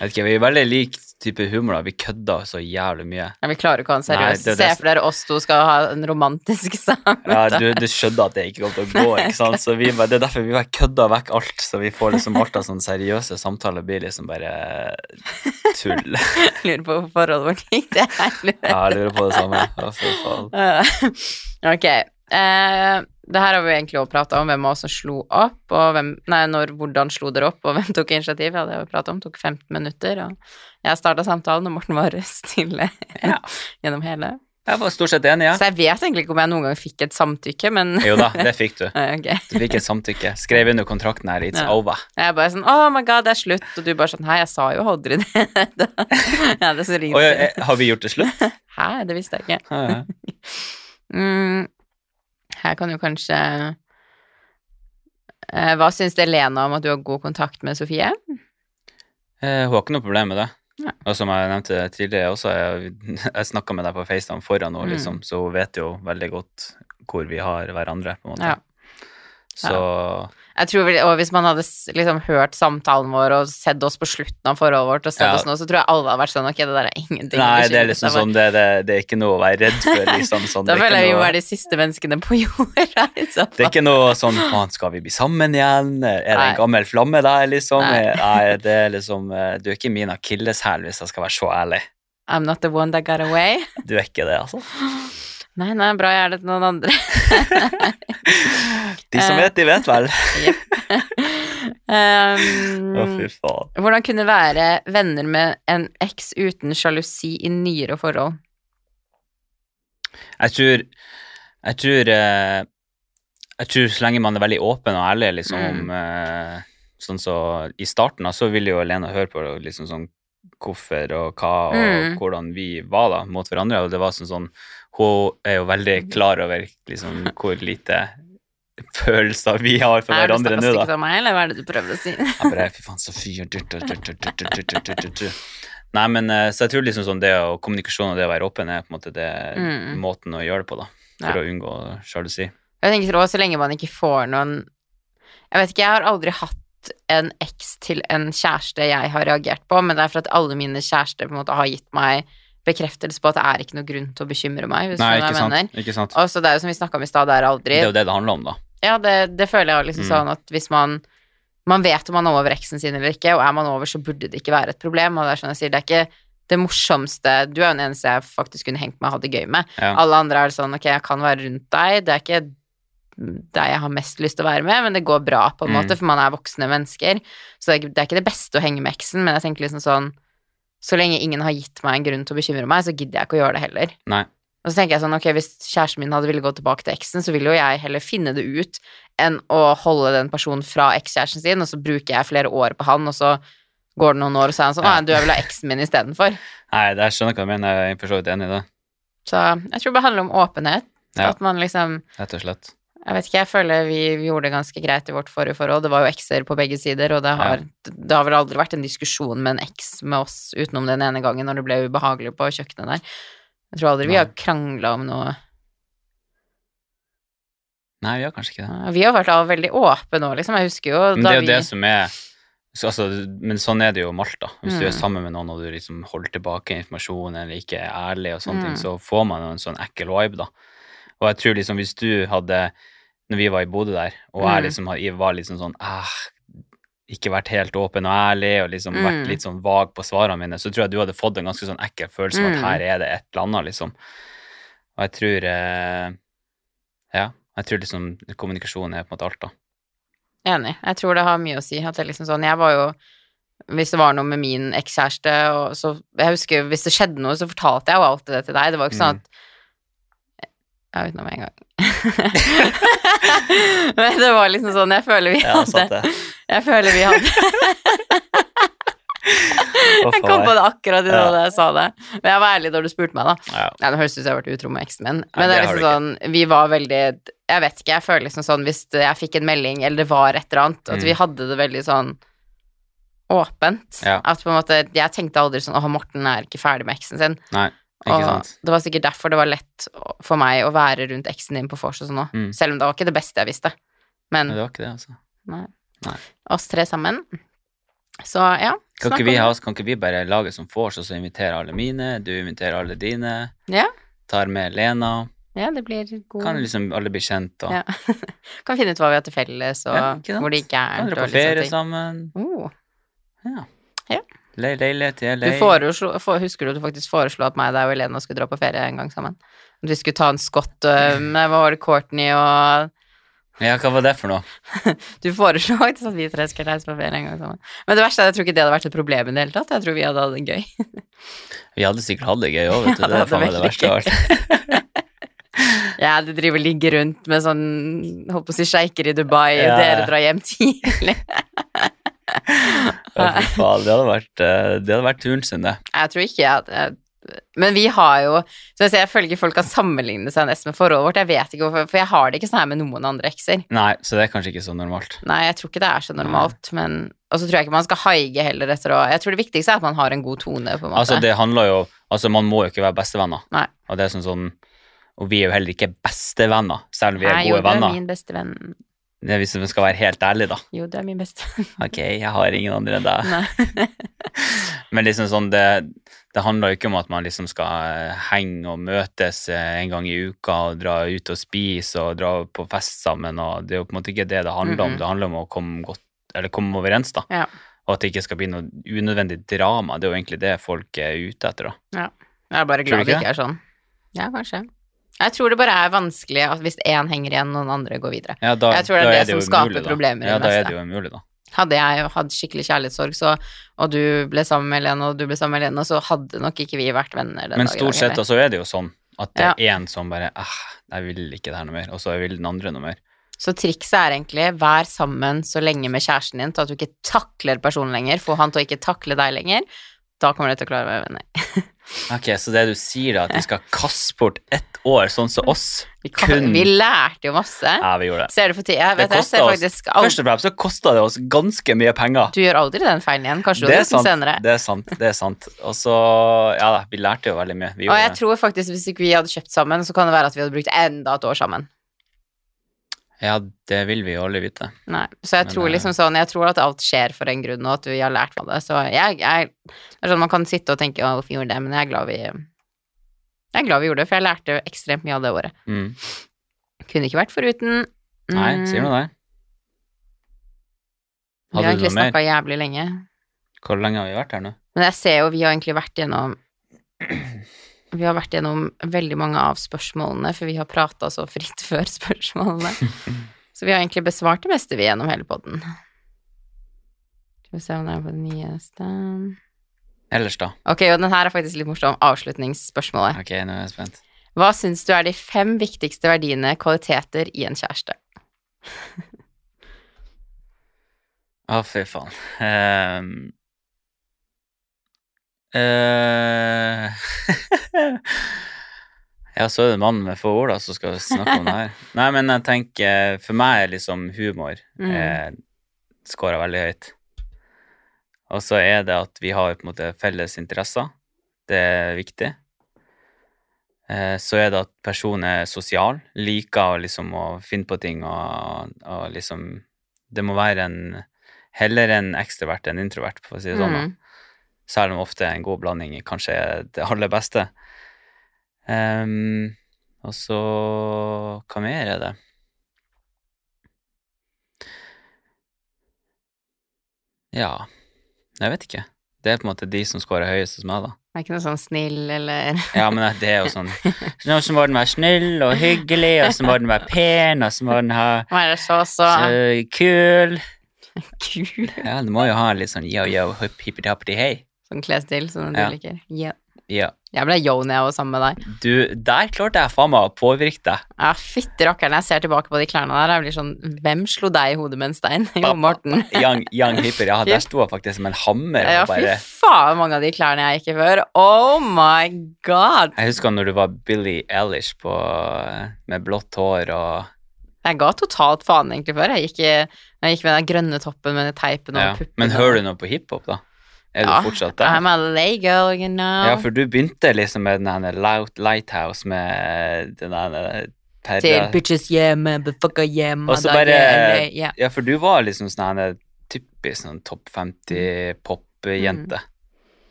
B: vet ikke, Vi er veldig lik type humor. da. Vi kødder så jævlig mye.
A: Ja, vi klarer ikke å ha en seriøs.
B: Nei, det er
A: Se
B: det-
A: for dere oss to skal ha en romantisk sammen.
B: Ja, du, du skjønner at det ikke kommer til å gå. ikke sant? Så vi, bare- Det er derfor vi bare kødder vekk alt. Så vi får liksom alt av sånne seriøse samtaler blir liksom bare tull.
A: Lurer på forholdet vårt gikk det her.
B: Ja, jeg lurer på det samme. Ja, for faen.
A: Eh, ok. Eh, det her har vi jo egentlig også prata om, hvem av oss som slo opp, og hvem, nei, når, hvordan slo dere opp, og hvem tok initiativ. Ja, det har vi prata om, tok 15 minutter, og jeg starta samtalen, og Morten var stille
B: Ja.
A: gjennom hele.
B: Jeg var stort sett enig, ja.
A: Så jeg vet egentlig ikke om jeg noen gang fikk et samtykke, men
B: Jo da, det fikk du.
A: Eh, ok.
B: Du fikk et samtykke. Skrev under kontrakten her. It's
A: Ja.
B: over.
A: Jeg bare sånn Oh my god, det er slutt. Og du bare sånn Hei, jeg sa jo aldri det. ja, det er så
B: Oi,
A: ringt.
B: eh, har vi gjort det slutt?
A: Hæ, det visste jeg ikke.
B: Ja, ja.
A: Mm, her kan jo kanskje Eh, Hva syns Elena om at du har god kontakt med Sofie?
B: Eh, Hun har ikke noe problem med det.
A: Nei.
B: Og som jeg nevnte tidligere også, jeg, jeg snakka med deg på FaceTime foran henne,
A: Mm.
B: liksom, så hun vet jo veldig godt hvor vi har hverandre, på en måte.
A: Ja.
B: Så
A: Jeg tror vel, og Hvis man hadde s- liksom hørt samtalen vår og sett oss på slutten av forholdet vårt, og sett
B: Ja.
A: oss nå, så tror jeg alle hadde vært sånn Ok, det der er ingenting. å
B: Nei, det
A: bekymre
B: er liksom
A: seg for.
B: sånn det, det, det er ikke noe å være redd for, liksom. Sånn,
A: Da
B: det er ikke
A: føler jeg vi
B: noe-
A: må være de siste menneskene på jorda. liksom. i så
B: Det er
A: fall.
B: ikke noe sånn 'faen, skal vi bli sammen igjen', er det
A: Nei.
B: en gammel flamme der, liksom?
A: Nei.
B: Nei, det er liksom eh, Du er ikke min akilleshæl, hvis jeg skal være så ærlig.
A: I'm not the one that got away.
B: Du er ikke det, altså.
A: Nei, nei, bra jeg er det til noen andre.
B: De
A: Eh.
B: som vet, de vet vel.
A: Um,
B: Å, fy faen.
A: Hvordan kunne være venner med en eks uten sjalusi i nyere forhold?
B: Jeg tror Jeg tror, eh, jeg tror så lenge man er veldig åpen og ærlig, liksom om,
A: Mm.
B: eh, Sånn så I starten da, så ville jo Elena høre på liksom sånn hvorfor og hva og
A: Mm.
B: hvordan vi var da mot hverandre, og det var sånn sånn Hun er jo veldig klar over liksom hvor lite følelser vi har for
A: Er du
B: hverandre nå, da.
A: stygt om meg, eller hva er det du prøvde å si?
B: Jeg bare Fy faen, Sofie du, du, du, du, du, du, du, du, du, du, du. Nei, men eh, så jeg tror liksom sånn det å kommunikasjon og det å være åpen er på en måte det
A: Mm.
B: måten å gjøre det på, da. For
A: Ja.
B: å unngå sjalusi.
A: Jeg tenker også, så lenge man ikke får noen Jeg vet ikke, jeg har aldri hatt en eks til en kjæreste jeg har reagert på, men det er for at alle mine kjærester på en måte har gitt meg bekreftelse på at det er ikke noe grunn til å bekymre meg, hvis
B: Nei,
A: du skjønner hva
B: ikke
A: jeg mener.
B: sant. ikke sant.
A: Og så det er jo som vi snakka om i stad, det er aldri
B: Det er jo det det handler om, da.
A: Ja, det, det føler jeg jo liksom
B: Mm.
A: sånn at hvis man Man vet om man er over eksen sin eller ikke, og er man over, så burde det ikke være et problem. Og det er sånn jeg sier, det er ikke det morsomste Du er jo den eneste jeg faktisk kunne hengt meg og hatt det gøy med.
B: Ja.
A: Alle andre er sånn Ok, jeg kan være rundt deg. Det er ikke deg jeg har mest lyst til å være med, men det går bra, på en
B: Mm.
A: måte, for man er voksne mennesker. Så det er, ikke- det er ikke det beste å henge med eksen, men jeg tenker liksom sånn Så lenge ingen har gitt meg en grunn til å bekymre meg, så gidder jeg ikke å gjøre det heller.
B: Nei.
A: Og så tenker jeg sånn, ok, hvis kjæresten min hadde ville gå tilbake til eksen, så ville jo jeg heller finne det ut enn å holde den personen fra ekskjæresten sin, og så bruker jeg flere år på han, og så går det noen år, og så er han sånn,
B: Ja.
A: nei, du er vel av eksen min istedenfor.
B: Nei, det jeg skjønner hva du mener. Jeg er for så vidt enig i det,
A: Så jeg tror det bare handler om åpenhet.
B: Ja.
A: At man liksom
B: rett og slett.
A: Jeg vet ikke, jeg føler vi, vi gjorde det ganske greit i vårt forrige forhold. Det var jo ekser på begge sider, og det har, det har vel aldri vært en diskusjon med en eks med oss utenom den ene gangen når det ble ubehagelig på kjøkkenet der. Jeg tror aldri vi
B: Nei.
A: har krangla om noe
B: Nei, vi gjør kanskje ikke det.
A: Ja, Eh, Vi har vært av veldig åpne nå, liksom. Jeg husker jo da
B: Men det er jo
A: vi
B: det som er så, altså, Men sånn er det jo med alt, da. Hvis du
A: Mm.
B: er sammen med noen og du liksom holder tilbake informasjon eller ikke er ærlig, og sånne
A: Mm.
B: ting, så får man jo en sånn ekkel vibe, da. Og jeg tror liksom hvis du hadde Når vi var i Bodø der, og jeg
A: Mm.
B: liksom had- var liksom sånn ah, ikke vært helt åpen og ærlig og liksom vært
A: Mm.
B: litt sånn vag på svarene mine, så tror jeg du hadde fått en ganske sånn ekkel følelse av
A: Mm.
B: at her er det et eller annet, liksom. Og jeg tror eh, Ja. Jeg tror liksom kommunikasjon er på en måte alt, da.
A: Enig. Jeg tror det har mye å si. At det er liksom sånn Jeg var jo Hvis det var noe med min ekskjæreste, og så Jeg husker hvis det skjedde noe, så fortalte jeg jo alltid det til deg. Det var jo ikke sånn
B: Mm.
A: at Ja, utenom en gang. Men det var liksom sånn Jeg føler vi hadde
B: det.
A: Jeg føler vi hadde Jeg kom på det akkurat
B: Ja.
A: idet jeg sa det. Men jeg var ærlig da du spurte meg, da.
B: Ja.
A: Nei, det høres ut som jeg har vært utro med eksen min.
B: Nei,
A: Men det er
B: det har
A: liksom sånn, vi var veldig Jeg vet ikke, jeg føler liksom sånn hvis jeg fikk en melding, eller det var et eller annet, at
B: Mm.
A: vi hadde det veldig sånn åpent.
B: Ja.
A: At på en måte Jeg tenkte aldri sånn Åh, Morten er ikke ferdig med eksen sin.
B: Nei, ikke
A: Og
B: sant.
A: det var sikkert derfor det var lett å- for meg å være rundt eksen din på vors og sånn òg.
B: Mm.
A: Selv om det var ikke det beste jeg visste. Men
B: Nei, det var ikke det, altså.
A: Nei.
B: Nei.
A: Oss tre sammen. Så ja,
B: Kan
A: Snakk
B: ikke, vi
A: om
B: ha, oss- kan ikke vi bare lage som vors, og så invitere alle mine, du inviterer alle dine,
A: Ja.
B: tar med Lena,
A: Ja, det blir god
B: kan liksom alle bli kjent, og
A: Ja. Kan finne ut hva vi har til felles, og
B: Ja, ikke sant?
A: hvor det ikke er
B: kan dere
A: og
B: på
A: litt sånne
B: ferie
A: ting.
B: sammen,
A: Oh.
B: ja.
A: Ja.
B: Le, leilighet til
A: Du
B: LA.
A: foreslo, for, husker du at du faktisk foreslo at meg og deg og Elena skulle dra på ferie en gang sammen? At vi skulle ta en skott, øh, med- hva var det, Courtney og
B: Ja, hva var det for noe?
A: Du foreslo faktisk at vi tre skulle reise på ferie en gang sammen. Men det verste er at jeg tror ikke det hadde vært et problem i det hele tatt. Jeg tror vi hadde hatt det gøy.
B: Vi hadde sikkert hatt det gøy òg, vet du.
A: Ja,
B: det
A: det
B: er faen meg
A: hadde
B: det verste av alt.
A: Ja, du driver og ligger rundt med sånn, holdt på å si, sjeiker i Dubai,
B: Ja.
A: og dere drar hjem tidlig.
B: Ja, fy faen, Det hadde vært, eh, det hadde vært turen sin, det.
A: Jeg tror ikke jeg hadde Men vi har jo Som jeg sier, jeg føler ikke folk kan sammenligne seg nesten med forholdet vårt. Jeg vet ikke hvorfor, for jeg har det ikke sånn her med noen andre ekser.
B: Nei, så det er kanskje ikke så normalt.
A: Nei, jeg tror ikke det er så normalt, men Og så tror jeg ikke man skal haige heller etter å Jeg tror det viktigste er at man har en god tone, på en måte.
B: Altså, det handler jo Altså, man må jo ikke være bestevenner.
A: Nei.
B: Og det er sånn sånn Og vi er jo heller ikke bestevenner, selv om vi er
A: Nei,
B: gode
A: jo, du
B: venner.
A: er min beste venn.
B: Det er Hvis vi skal være helt ærlige, da.
A: Jo, du er min beste venn.
B: Ok, jeg har ingen andre enn deg.
A: Nei.
B: Men liksom sånn, det, det handler jo ikke om at man liksom skal henge og møtes eh, en gang i uka og dra ut og spise og dra på fest sammen. og Det er jo på en måte ikke det det handler om.
A: Mhm.
B: Det handler om å komme, godt, eller komme overens, da.
A: Ja.
B: Og at det ikke skal bli noe unødvendig drama. Det er jo egentlig det folk er ute etter, da.
A: Jeg er bare
B: Tror
A: glad
B: du
A: det
B: ikke
A: ikke er sånn. Ja, kanskje. Jeg tror det bare er vanskelig at hvis én henger igjen, noen andre går videre.
B: Ja, da
A: Jeg tror det er
B: da
A: det
B: jo
A: som skaper
B: umulig, da.
A: problemer i
B: Ja,
A: det
B: da er
A: meste.
B: det jo umulig, da.
A: Hadde jeg hatt skikkelig kjærlighetssorg, så, og du ble sammen med Helene, og du ble sammen med Helene, så hadde nok ikke vi vært venner den dagen.
B: Men stort sett, da, så er det jo sånn at det
A: Ja.
B: er én som bare ah, jeg vil ikke det her noe mer, og så vil den andre noe mer.
A: Så trikset er egentlig, vær sammen så lenge med kjæresten din, til at du ikke takler personen lenger, få han til å ikke takle deg lenger, da kommer du til å klare å være venner.
B: Ok, Så det du sier, da, at vi skal kaste bort ett år, sånn som oss?
A: Vi, kan,
B: Kun-
A: vi lærte jo masse.
B: Ja, vi gjorde det.
A: Ser du for tida? Jeg vet
B: Det
A: det, jeg ser
B: kostet oss.
A: faktisk
B: Først
A: aldri,
B: og fremst så kosta det oss ganske mye penger.
A: Du gjør aldri den feilen igjen, kanskje du
B: Det
A: gjør
B: er
A: den
B: sant.
A: senere.
B: Det er sant. det er sant. Og så Ja da, vi lærte jo veldig mye. Vi
A: Og
B: gjorde
A: jeg
B: det.
A: tror faktisk hvis ikke vi hadde kjøpt sammen, så kan det være at vi hadde brukt enda et år sammen.
B: Ja, det vil vi jo alle vite.
A: Nei. Så jeg
B: Men,
A: tror
B: eh,
A: liksom sånn, jeg tror at alt skjer for en grunn, og at vi har lært av det. Så jeg, jeg det er sånn, Man kan sitte og tenke 'Å, hvorfor gjorde jeg det?' Men jeg er glad vi jeg er glad vi gjorde det, for jeg lærte ekstremt mye av det året.
B: Mm.
A: Kunne ikke vært foruten. Mm,
B: Nei, sier du det?
A: Vi har
B: Hadde du
A: egentlig
B: noe mer?
A: snakka jævlig lenge.
B: Hvor lenge har vi vært her nå?
A: Men jeg ser jo, vi har egentlig vært gjennom Vi har vært gjennom veldig mange av spørsmålene, for vi har prata så fritt før spørsmålene. Så vi har egentlig besvart det meste vi gjennom hele podden. Skal vi se om det er på det nyeste
B: Ellers, da?
A: Ok, og den her er faktisk litt morsom. Avslutningsspørsmålet.
B: Ok, nå er jeg spent.
A: Hva syns du er de fem viktigste verdiene, kvaliteter, i en kjæreste?
B: Å, fy faen. Ehm. Eh. ja, så er det mannen med få ord da, som skal snakke om det her. Nei, men jeg tenker, for meg er liksom humor
A: Mm.
B: eh, skåra veldig høyt. Og så er det at vi har på en måte felles interesser. Det er viktig. Eh, så er det at personen er sosial, liker å liksom å finne på ting og, og liksom Det må være en heller en ekstrovert enn introvert, for å si det sånn. da.
A: Mm.
B: Selv om ofte en god blanding kanskje er det aller beste. Ehm, og så Hva mer er det? Ja Jeg vet ikke. Det er på en måte de som scorer høyest hos meg, da.
A: Det er ikke noe sånn snill eller
B: Ja, men det er jo sånn Nå så må den være snill og hyggelig, og så må den være pen, og så må den ha
A: Hva er det så, så
B: så kul
A: kul?
B: Ja, du må jo ha litt sånn yo-yo, hippity-hoppity-hei.
A: Sånn klesstil som du
B: Ja.
A: liker. Ja.
B: Ja.
A: Jeg ble yo når jeg var sammen med deg.
B: Du, der klarte jeg faen meg å påvirke deg.
A: Ja, fytti rakkeren, jeg ser tilbake på de klærne der. Jeg blir sånn, hvem slo deg i hodet med en stein? Jo, Morten.
B: Young, young hipper, ja, der sto jeg faktisk som en hammer.
A: Ja,
B: Og
A: fy
B: bare,
A: faen, mange av de klærne jeg gikk i før. Oh my god!
B: jeg husker når du var Billie Eilish på, med blått hår og
A: Jeg ga totalt faen egentlig før. Jeg gikk, i, jeg gikk med den grønne toppen med den teipen
B: ja.
A: over puppene.
B: Men hører du noe på hiphop, da? Er du
A: Ja,
B: fortsatt
A: I'm
B: der?
A: a lay girl, you know.
B: Ja, for du begynte liksom med den her Lout- Lighthouse med den der
A: Til
B: perra
A: bitches, yeah, motherfucker, yeah,
B: Og så
A: mother,
B: bare-
A: yeah, LA, yeah. Mm.
B: Ja, for du var liksom sånn her typisk sånn topp 50-pop popjente.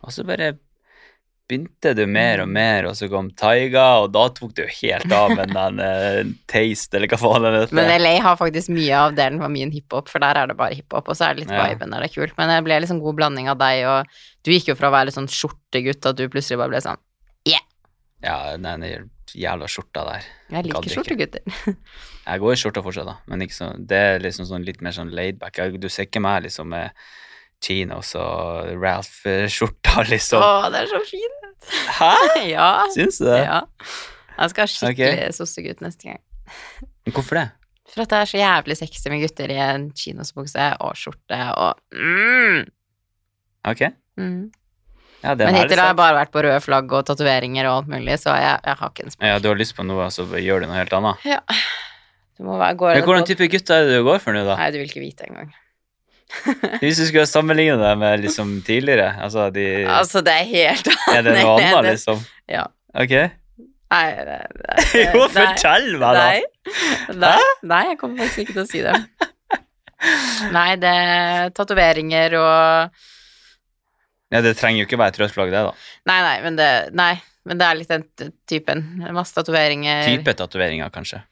B: Og så bare begynte det mer og
A: Mm.
B: mer, og så kom Taiga, og da tok det jo helt av med den eh, Taste, eller hva faen den heter.
A: Men LA har faktisk mye av delen for min hiphop, for der er det bare hiphop, og så er det litt
B: Ja.
A: viben der det er kult. Men det ble liksom god blanding av deg, og du gikk jo fra å være litt sånn skjortegutt at du plutselig bare ble sånn
B: Ja, den jævla skjorta der.
A: Jeg
B: Gadd
A: liker
B: ikke.
A: skjortegutter.
B: Jeg går i skjorta fortsatt, da, men ikke så, det er liksom sånn litt mer sånn laidback. Du ser ikke meg liksom med chinos og Ralph-skjorta, liksom.
A: Å, det er så fint!
B: Hæ?
A: Ja.
B: Syns du det?
A: ja. Jeg skal ha skikkelig
B: Ok.
A: sossegutt neste gang.
B: Men Hvorfor det?
A: For at det er så jævlig sexy med gutter i en chinosbukse og skjorte og mm.
B: Ok.
A: Mm.
B: Ja, det er
A: Men
B: en ærlig
A: hittil har
B: sak.
A: jeg bare vært på røde flagg og tatoveringer og alt mulig, så jeg, jeg har ikke en
B: Ja, du har lyst på noe, så gjør du noe helt annet.
A: Du må være gå
B: Men hvordan type gutt er det du går for nå, da?
A: Nei, du vil ikke vite engang.
B: Hvis du skulle sammenligne deg med liksom tidligere, altså de
A: Altså, det er helt
B: Er det noe
A: nei, det-
B: annet, liksom?
A: Ja.
B: Ok.
A: Nei, det, det, det,
B: Jo,
A: nei,
B: fortell meg, da!
A: Nei. Nei, nei, jeg kommer faktisk ikke til å si det. Nei, det er tatoveringer og
B: Ja, det trenger jo ikke være et rødt flagg, det, da.
A: Nei, nei, men det, nei, men det er litt den t- typen. Masse tatoveringer.
B: Type tatoveringer, kanskje.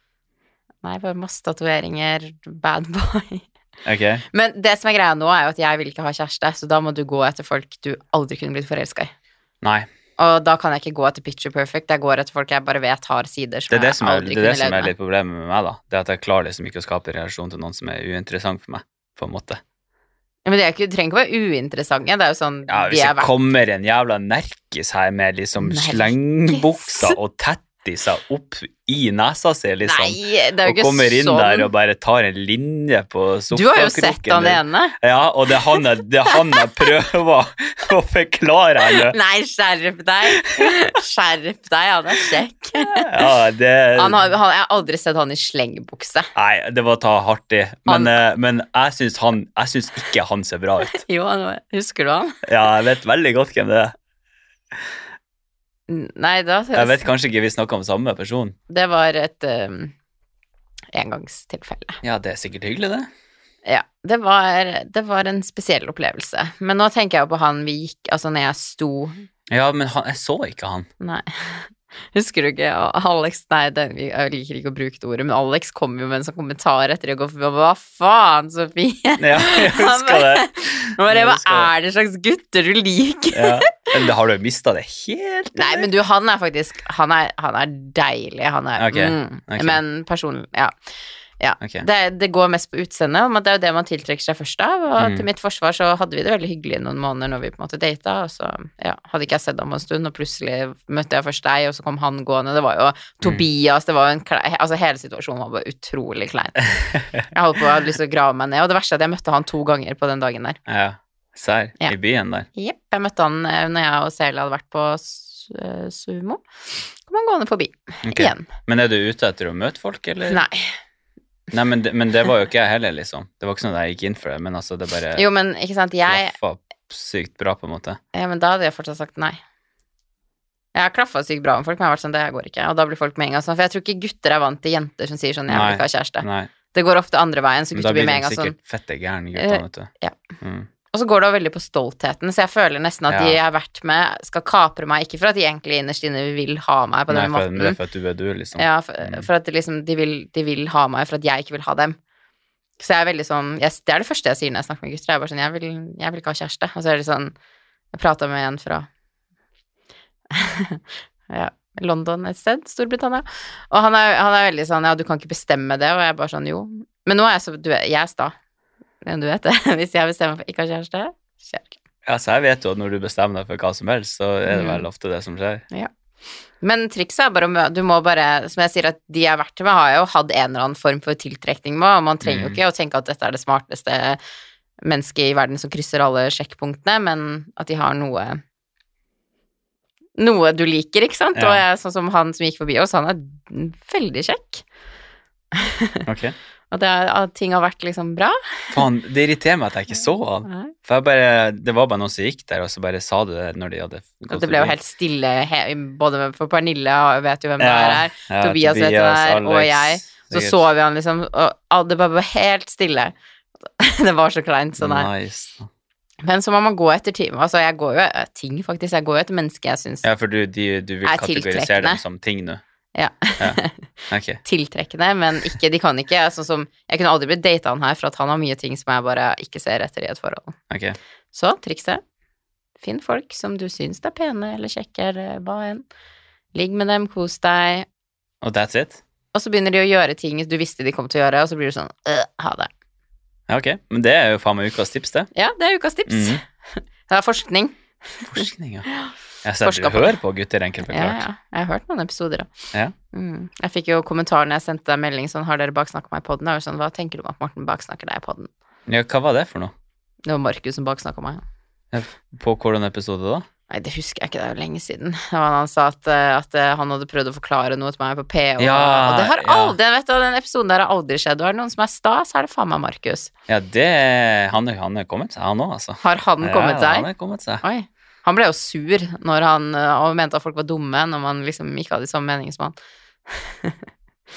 A: Nei, bare masse tatoveringer. Bad boy.
B: Ok.
A: Men det som er greia nå, er jo at jeg vil ikke ha kjæreste, så da må du gå etter folk du aldri kunne blitt forelska i.
B: Nei.
A: Og da kan jeg ikke gå etter picture perfect. Jeg går etter folk jeg bare vet har sider som,
B: Det er det som
A: jeg
B: er,
A: aldri
B: det er, det
A: kunne
B: som er
A: levd med.
B: litt problemet med meg, da. Det er at jeg klarer liksom ikke å skape en relasjon til noen som er uinteressant for meg, på en måte.
A: Ja, men det er ikke, du trenger ikke være uinteressante. Det er jo sånn
B: Ja,
A: de
B: hvis
A: er
B: det
A: verdt
B: kommer en jævla nerkis her med liksom
A: Nerkis?
B: slengbukser og tettiser opp i nesa si,
A: Nei,
B: liksom.
A: det er jo
B: Og
A: ikke
B: kommer inn
A: sånn.
B: der og bare tar en linje på
A: du har jo sett
B: sofakroken.
A: han
B: din.
A: ene.
B: Ja, og det er han jeg, det er han jeg prøver å forklare henne.
A: Nei, skjerp deg. Skjerp deg, han er kjekk.
B: Ja, det
A: Han har, han, jeg har aldri sett han i slengbukse.
B: Nei, det var å ta hardt i.
A: Han-
B: Men, eh, men jeg syns han Jeg syns ikke han ser bra ut.
A: Jo, han var, husker du han?
B: Ja, jeg vet veldig godt hvem det er.
A: Nei, da
B: Jeg vet kanskje ikke vi snakker om samme person.
A: Det var et um, engangstilfelle.
B: Ja, det er sikkert hyggelig, det.
A: Ja, det var, det var en spesiell opplevelse. Men nå tenker jeg jo på han vi gikk Altså, når jeg sto
B: Ja, men han, jeg så ikke han.
A: Nei. Husker du ikke Alex Nei, det, jeg liker ikke å bruke det ordet, men Alex kom jo med en sånn kommentar etter det og går Hva faen, Sofie?
B: Ja, jeg husker det.
A: Bare,
B: Jeg
A: hva
B: husker
A: er det slags gutter du liker?
B: Ja. Men det- Har du mista det helt?
A: Nei, men du, han er faktisk Han er, han er deilig, han er
B: Ok,
A: mm,
B: ok.
A: Men personlig, ja. ja.
B: Ok.
A: Det, det går mest på utseendet, men det er jo det man tiltrekker seg først av. Og
B: Mm.
A: til mitt forsvar så hadde vi det veldig hyggelig noen måneder når vi på en måte data, og så ja, hadde ikke jeg sett ham på en stund, og plutselig møtte jeg først deg, og så kom han gående. Det
B: Mm.
A: var jo Tobias, det var jo en klei, Altså hele situasjonen var bare utrolig klein. Jeg holdt på jeg hadde lyst til å grave meg ned, og det verste er at jeg møtte han to ganger på den dagen der.
B: Ja. Serr,
A: Ja.
B: i byen der.
A: Jepp. Jeg møtte han eh, når jeg og Sela hadde vært på s- eh, sumo. Kom han gående forbi
B: Ok.
A: igjen.
B: Men er du ute etter å møte folk, eller?
A: Nei.
B: Nei, men, det- men det var jo ikke jeg heller, liksom. Det var ikke sånn at jeg gikk inn for det, men altså, det bare
A: Jo, men ikke sant, jeg
B: klaffa sykt bra, på en måte.
A: ja, men Da hadde jeg fortsatt sagt nei. Jeg har klaffa sykt bra med folk, men jeg har vært sånn, det her går ikke. Og da blir folk med en gang sånn, for jeg tror ikke gutter er vant til jenter som sier sånn, jeg vil ikke ha kjæreste.
B: Nei,
A: Det går ofte andre veien, så
B: men da
A: gutter blir
B: blir
A: med en
B: de
A: gang sånn. eh,
B: sikkert fette gærne gutta, vet du.
A: ja.
B: Mm.
A: Og så går det også veldig på stoltheten, så jeg føler nesten at
B: Ja.
A: de jeg har vært med, skal kapre meg, ikke for at de egentlig innerst inne vil ha meg på
B: Nei,
A: den
B: for,
A: måten.
B: men det er for at du er du, liksom.
A: Ja, for,
B: Mm.
A: for at det liksom, de, vil, de vil ha meg for at jeg ikke vil ha dem. Så jeg er veldig sånn jeg, Det er det første jeg sier når jeg snakker med gutter. Jeg er bare sånn, jeg vil, jeg vil ikke ha kjæreste. Og så er det sånn Jeg prata med en fra ja, London et sted, Storbritannia. Og han er, han er veldig sånn Ja, du kan ikke bestemme det. Og jeg er bare sånn Jo. Men nå er jeg så du, vet- Jeg er sta. Men du vet det. Hvis jeg bestemmer for ikke å ha kjæreste, skjer det ikke.
B: Ja, så jeg vet jo at når du bestemmer deg for hva som helst, så er det
A: Mm.
B: vel ofte det som skjer.
A: Men trikset er bare å mø- Du må bare Som jeg sier, at de jeg har vært med, har jo hatt en eller annen form for tiltrekning med, og man trenger jo
B: Mm.
A: ikke å tenke at dette er det smarteste mennesket i verden som krysser alle sjekkpunktene, men at de har noe Noe du liker, ikke sant?
B: Ja.
A: Og jeg, sånn som han som gikk forbi oss, han er veldig kjekk.
B: Ok.
A: Og det er, at ting har vært liksom bra.
B: Faen, det irriterer meg at jeg ikke så han.
A: Og
B: For jeg bare, det var bare noen som gikk der, og så bare sa du det når de hadde gått
A: det ble jo
B: forbi.
A: helt stille, he, både med- for Pernille og vet jo hvem det
B: Ja,
A: er her.
B: ja,
A: Tobias vet hvem det er, og
B: Alex,
A: jeg, Så
B: sikkert.
A: så vi han liksom, og alle- det bare var helt stille. Det var så kleint, så nei.
B: Nice.
A: Men så må man gå etter time. Altså, jeg går jo eh, ting, faktisk. Jeg går jo etter mennesker jeg syns
B: Ja, for du, de, du vil
A: Er
B: kategorisere
A: tiltrekkende.
B: dem som ting nå?
A: Ja.
B: Ok.
A: tiltrekkende, men ikke, de kan ikke. Sånn som, jeg kunne aldri blitt data han her, for at han har mye ting som jeg bare ikke ser etter i et forhold.
B: ok.
A: Så trikset Finn folk som du syns er pene eller kjekke eller hva enn. Ligg med dem, kos deg.
B: Og that's it?
A: Og så begynner de å gjøre ting du visste de kom til å gjøre, og så blir du sånn øh, ha det.
B: Ja, ok. Men det er jo faen meg ukas tips, det.
A: Ja, det er ukas tips.
B: Mhm.
A: Det er forskning.
B: Forskning, ja. Jeg ser
A: Forska
B: at
A: på
B: du hører på gutter, enkelt
A: Ja,
B: forklart.
A: ja. Jeg har hørt noen episoder, da.
B: Ja.
A: Mm. Jeg fikk jo kommentar når jeg sendte deg melding sånn Har dere baksnakka meg i poden? Da var det sånn Hva tenker du om at Morten baksnakker deg i poden?
B: Ja, hva var det for noe?
A: Det var Markus som baksnakka meg.
B: På hvordan episode da?
A: Nei, det husker jeg ikke, det er jo lenge siden. Det var da han sa at, eh, at eh, han hadde prøvd å forklare noe til meg på PH.
B: Ja,
A: og det har
B: ja.
A: aldri, vet du, den episoden der har aldri skjedd. Og er det noen som er sta, så er det faen meg Markus.
B: Ja, det Han er- han er kommet seg, han òg, altså.
A: Har han kommet
B: Ja,
A: seg?
B: han er kommet seg.
A: Oi. Han ble jo sur når han eh, og mente at folk var dumme, når man liksom ikke hadde de samme meningene som han.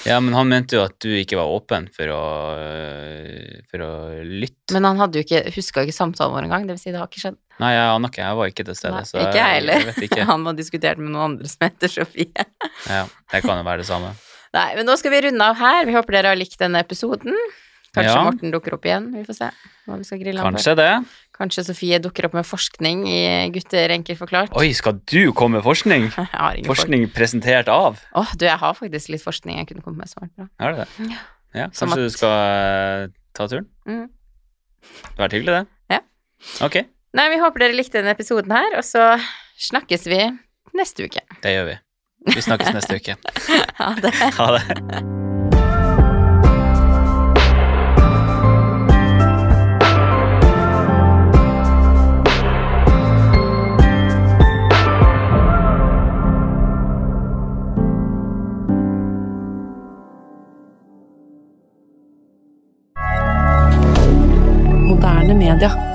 B: Ja, men han mente jo at du ikke var åpen for å øh, For å lytte.
A: Men han hadde jo ikke, huska ikke samtalen vår engang, det vil si det har ikke skjedd.
B: Nei, jeg aner ikke. Jeg var ikke til stede.
A: Nei,
B: så
A: ikke jeg heller.
B: Jeg vet ikke.
A: Han må ha diskutert med noen andre som heter Sofie.
B: Ja, det kan jo være det samme.
A: Nei, men nå skal vi runde av her. Vi håper dere har likt denne episoden. Kanskje
B: Ja.
A: Morten dukker opp igjen. Vi får se hva vi skal grille han på.
B: Kanskje det.
A: Kanskje Sofie dukker opp med forskning i Gutter enkelt forklart.
B: Oi, skal du komme med forskning?
A: Jeg har ingen forskning.
B: Forskning presentert av?
A: Åh, du, jeg har faktisk litt forskning jeg kunne kommet med svart fra.
B: Er det det? Ja,
A: Som at-
B: kanskje du skal eh, ta turen?
A: Mm.
B: Det hadde vært hyggelig, det.
A: Ja.
B: Ok,
A: Nei, vi håper dere likte denne episoden her, og så snakkes vi neste uke.
B: det gjør vi. Vi snakkes neste uke.
A: Ha det.
B: Ha det.
C: Moderne media.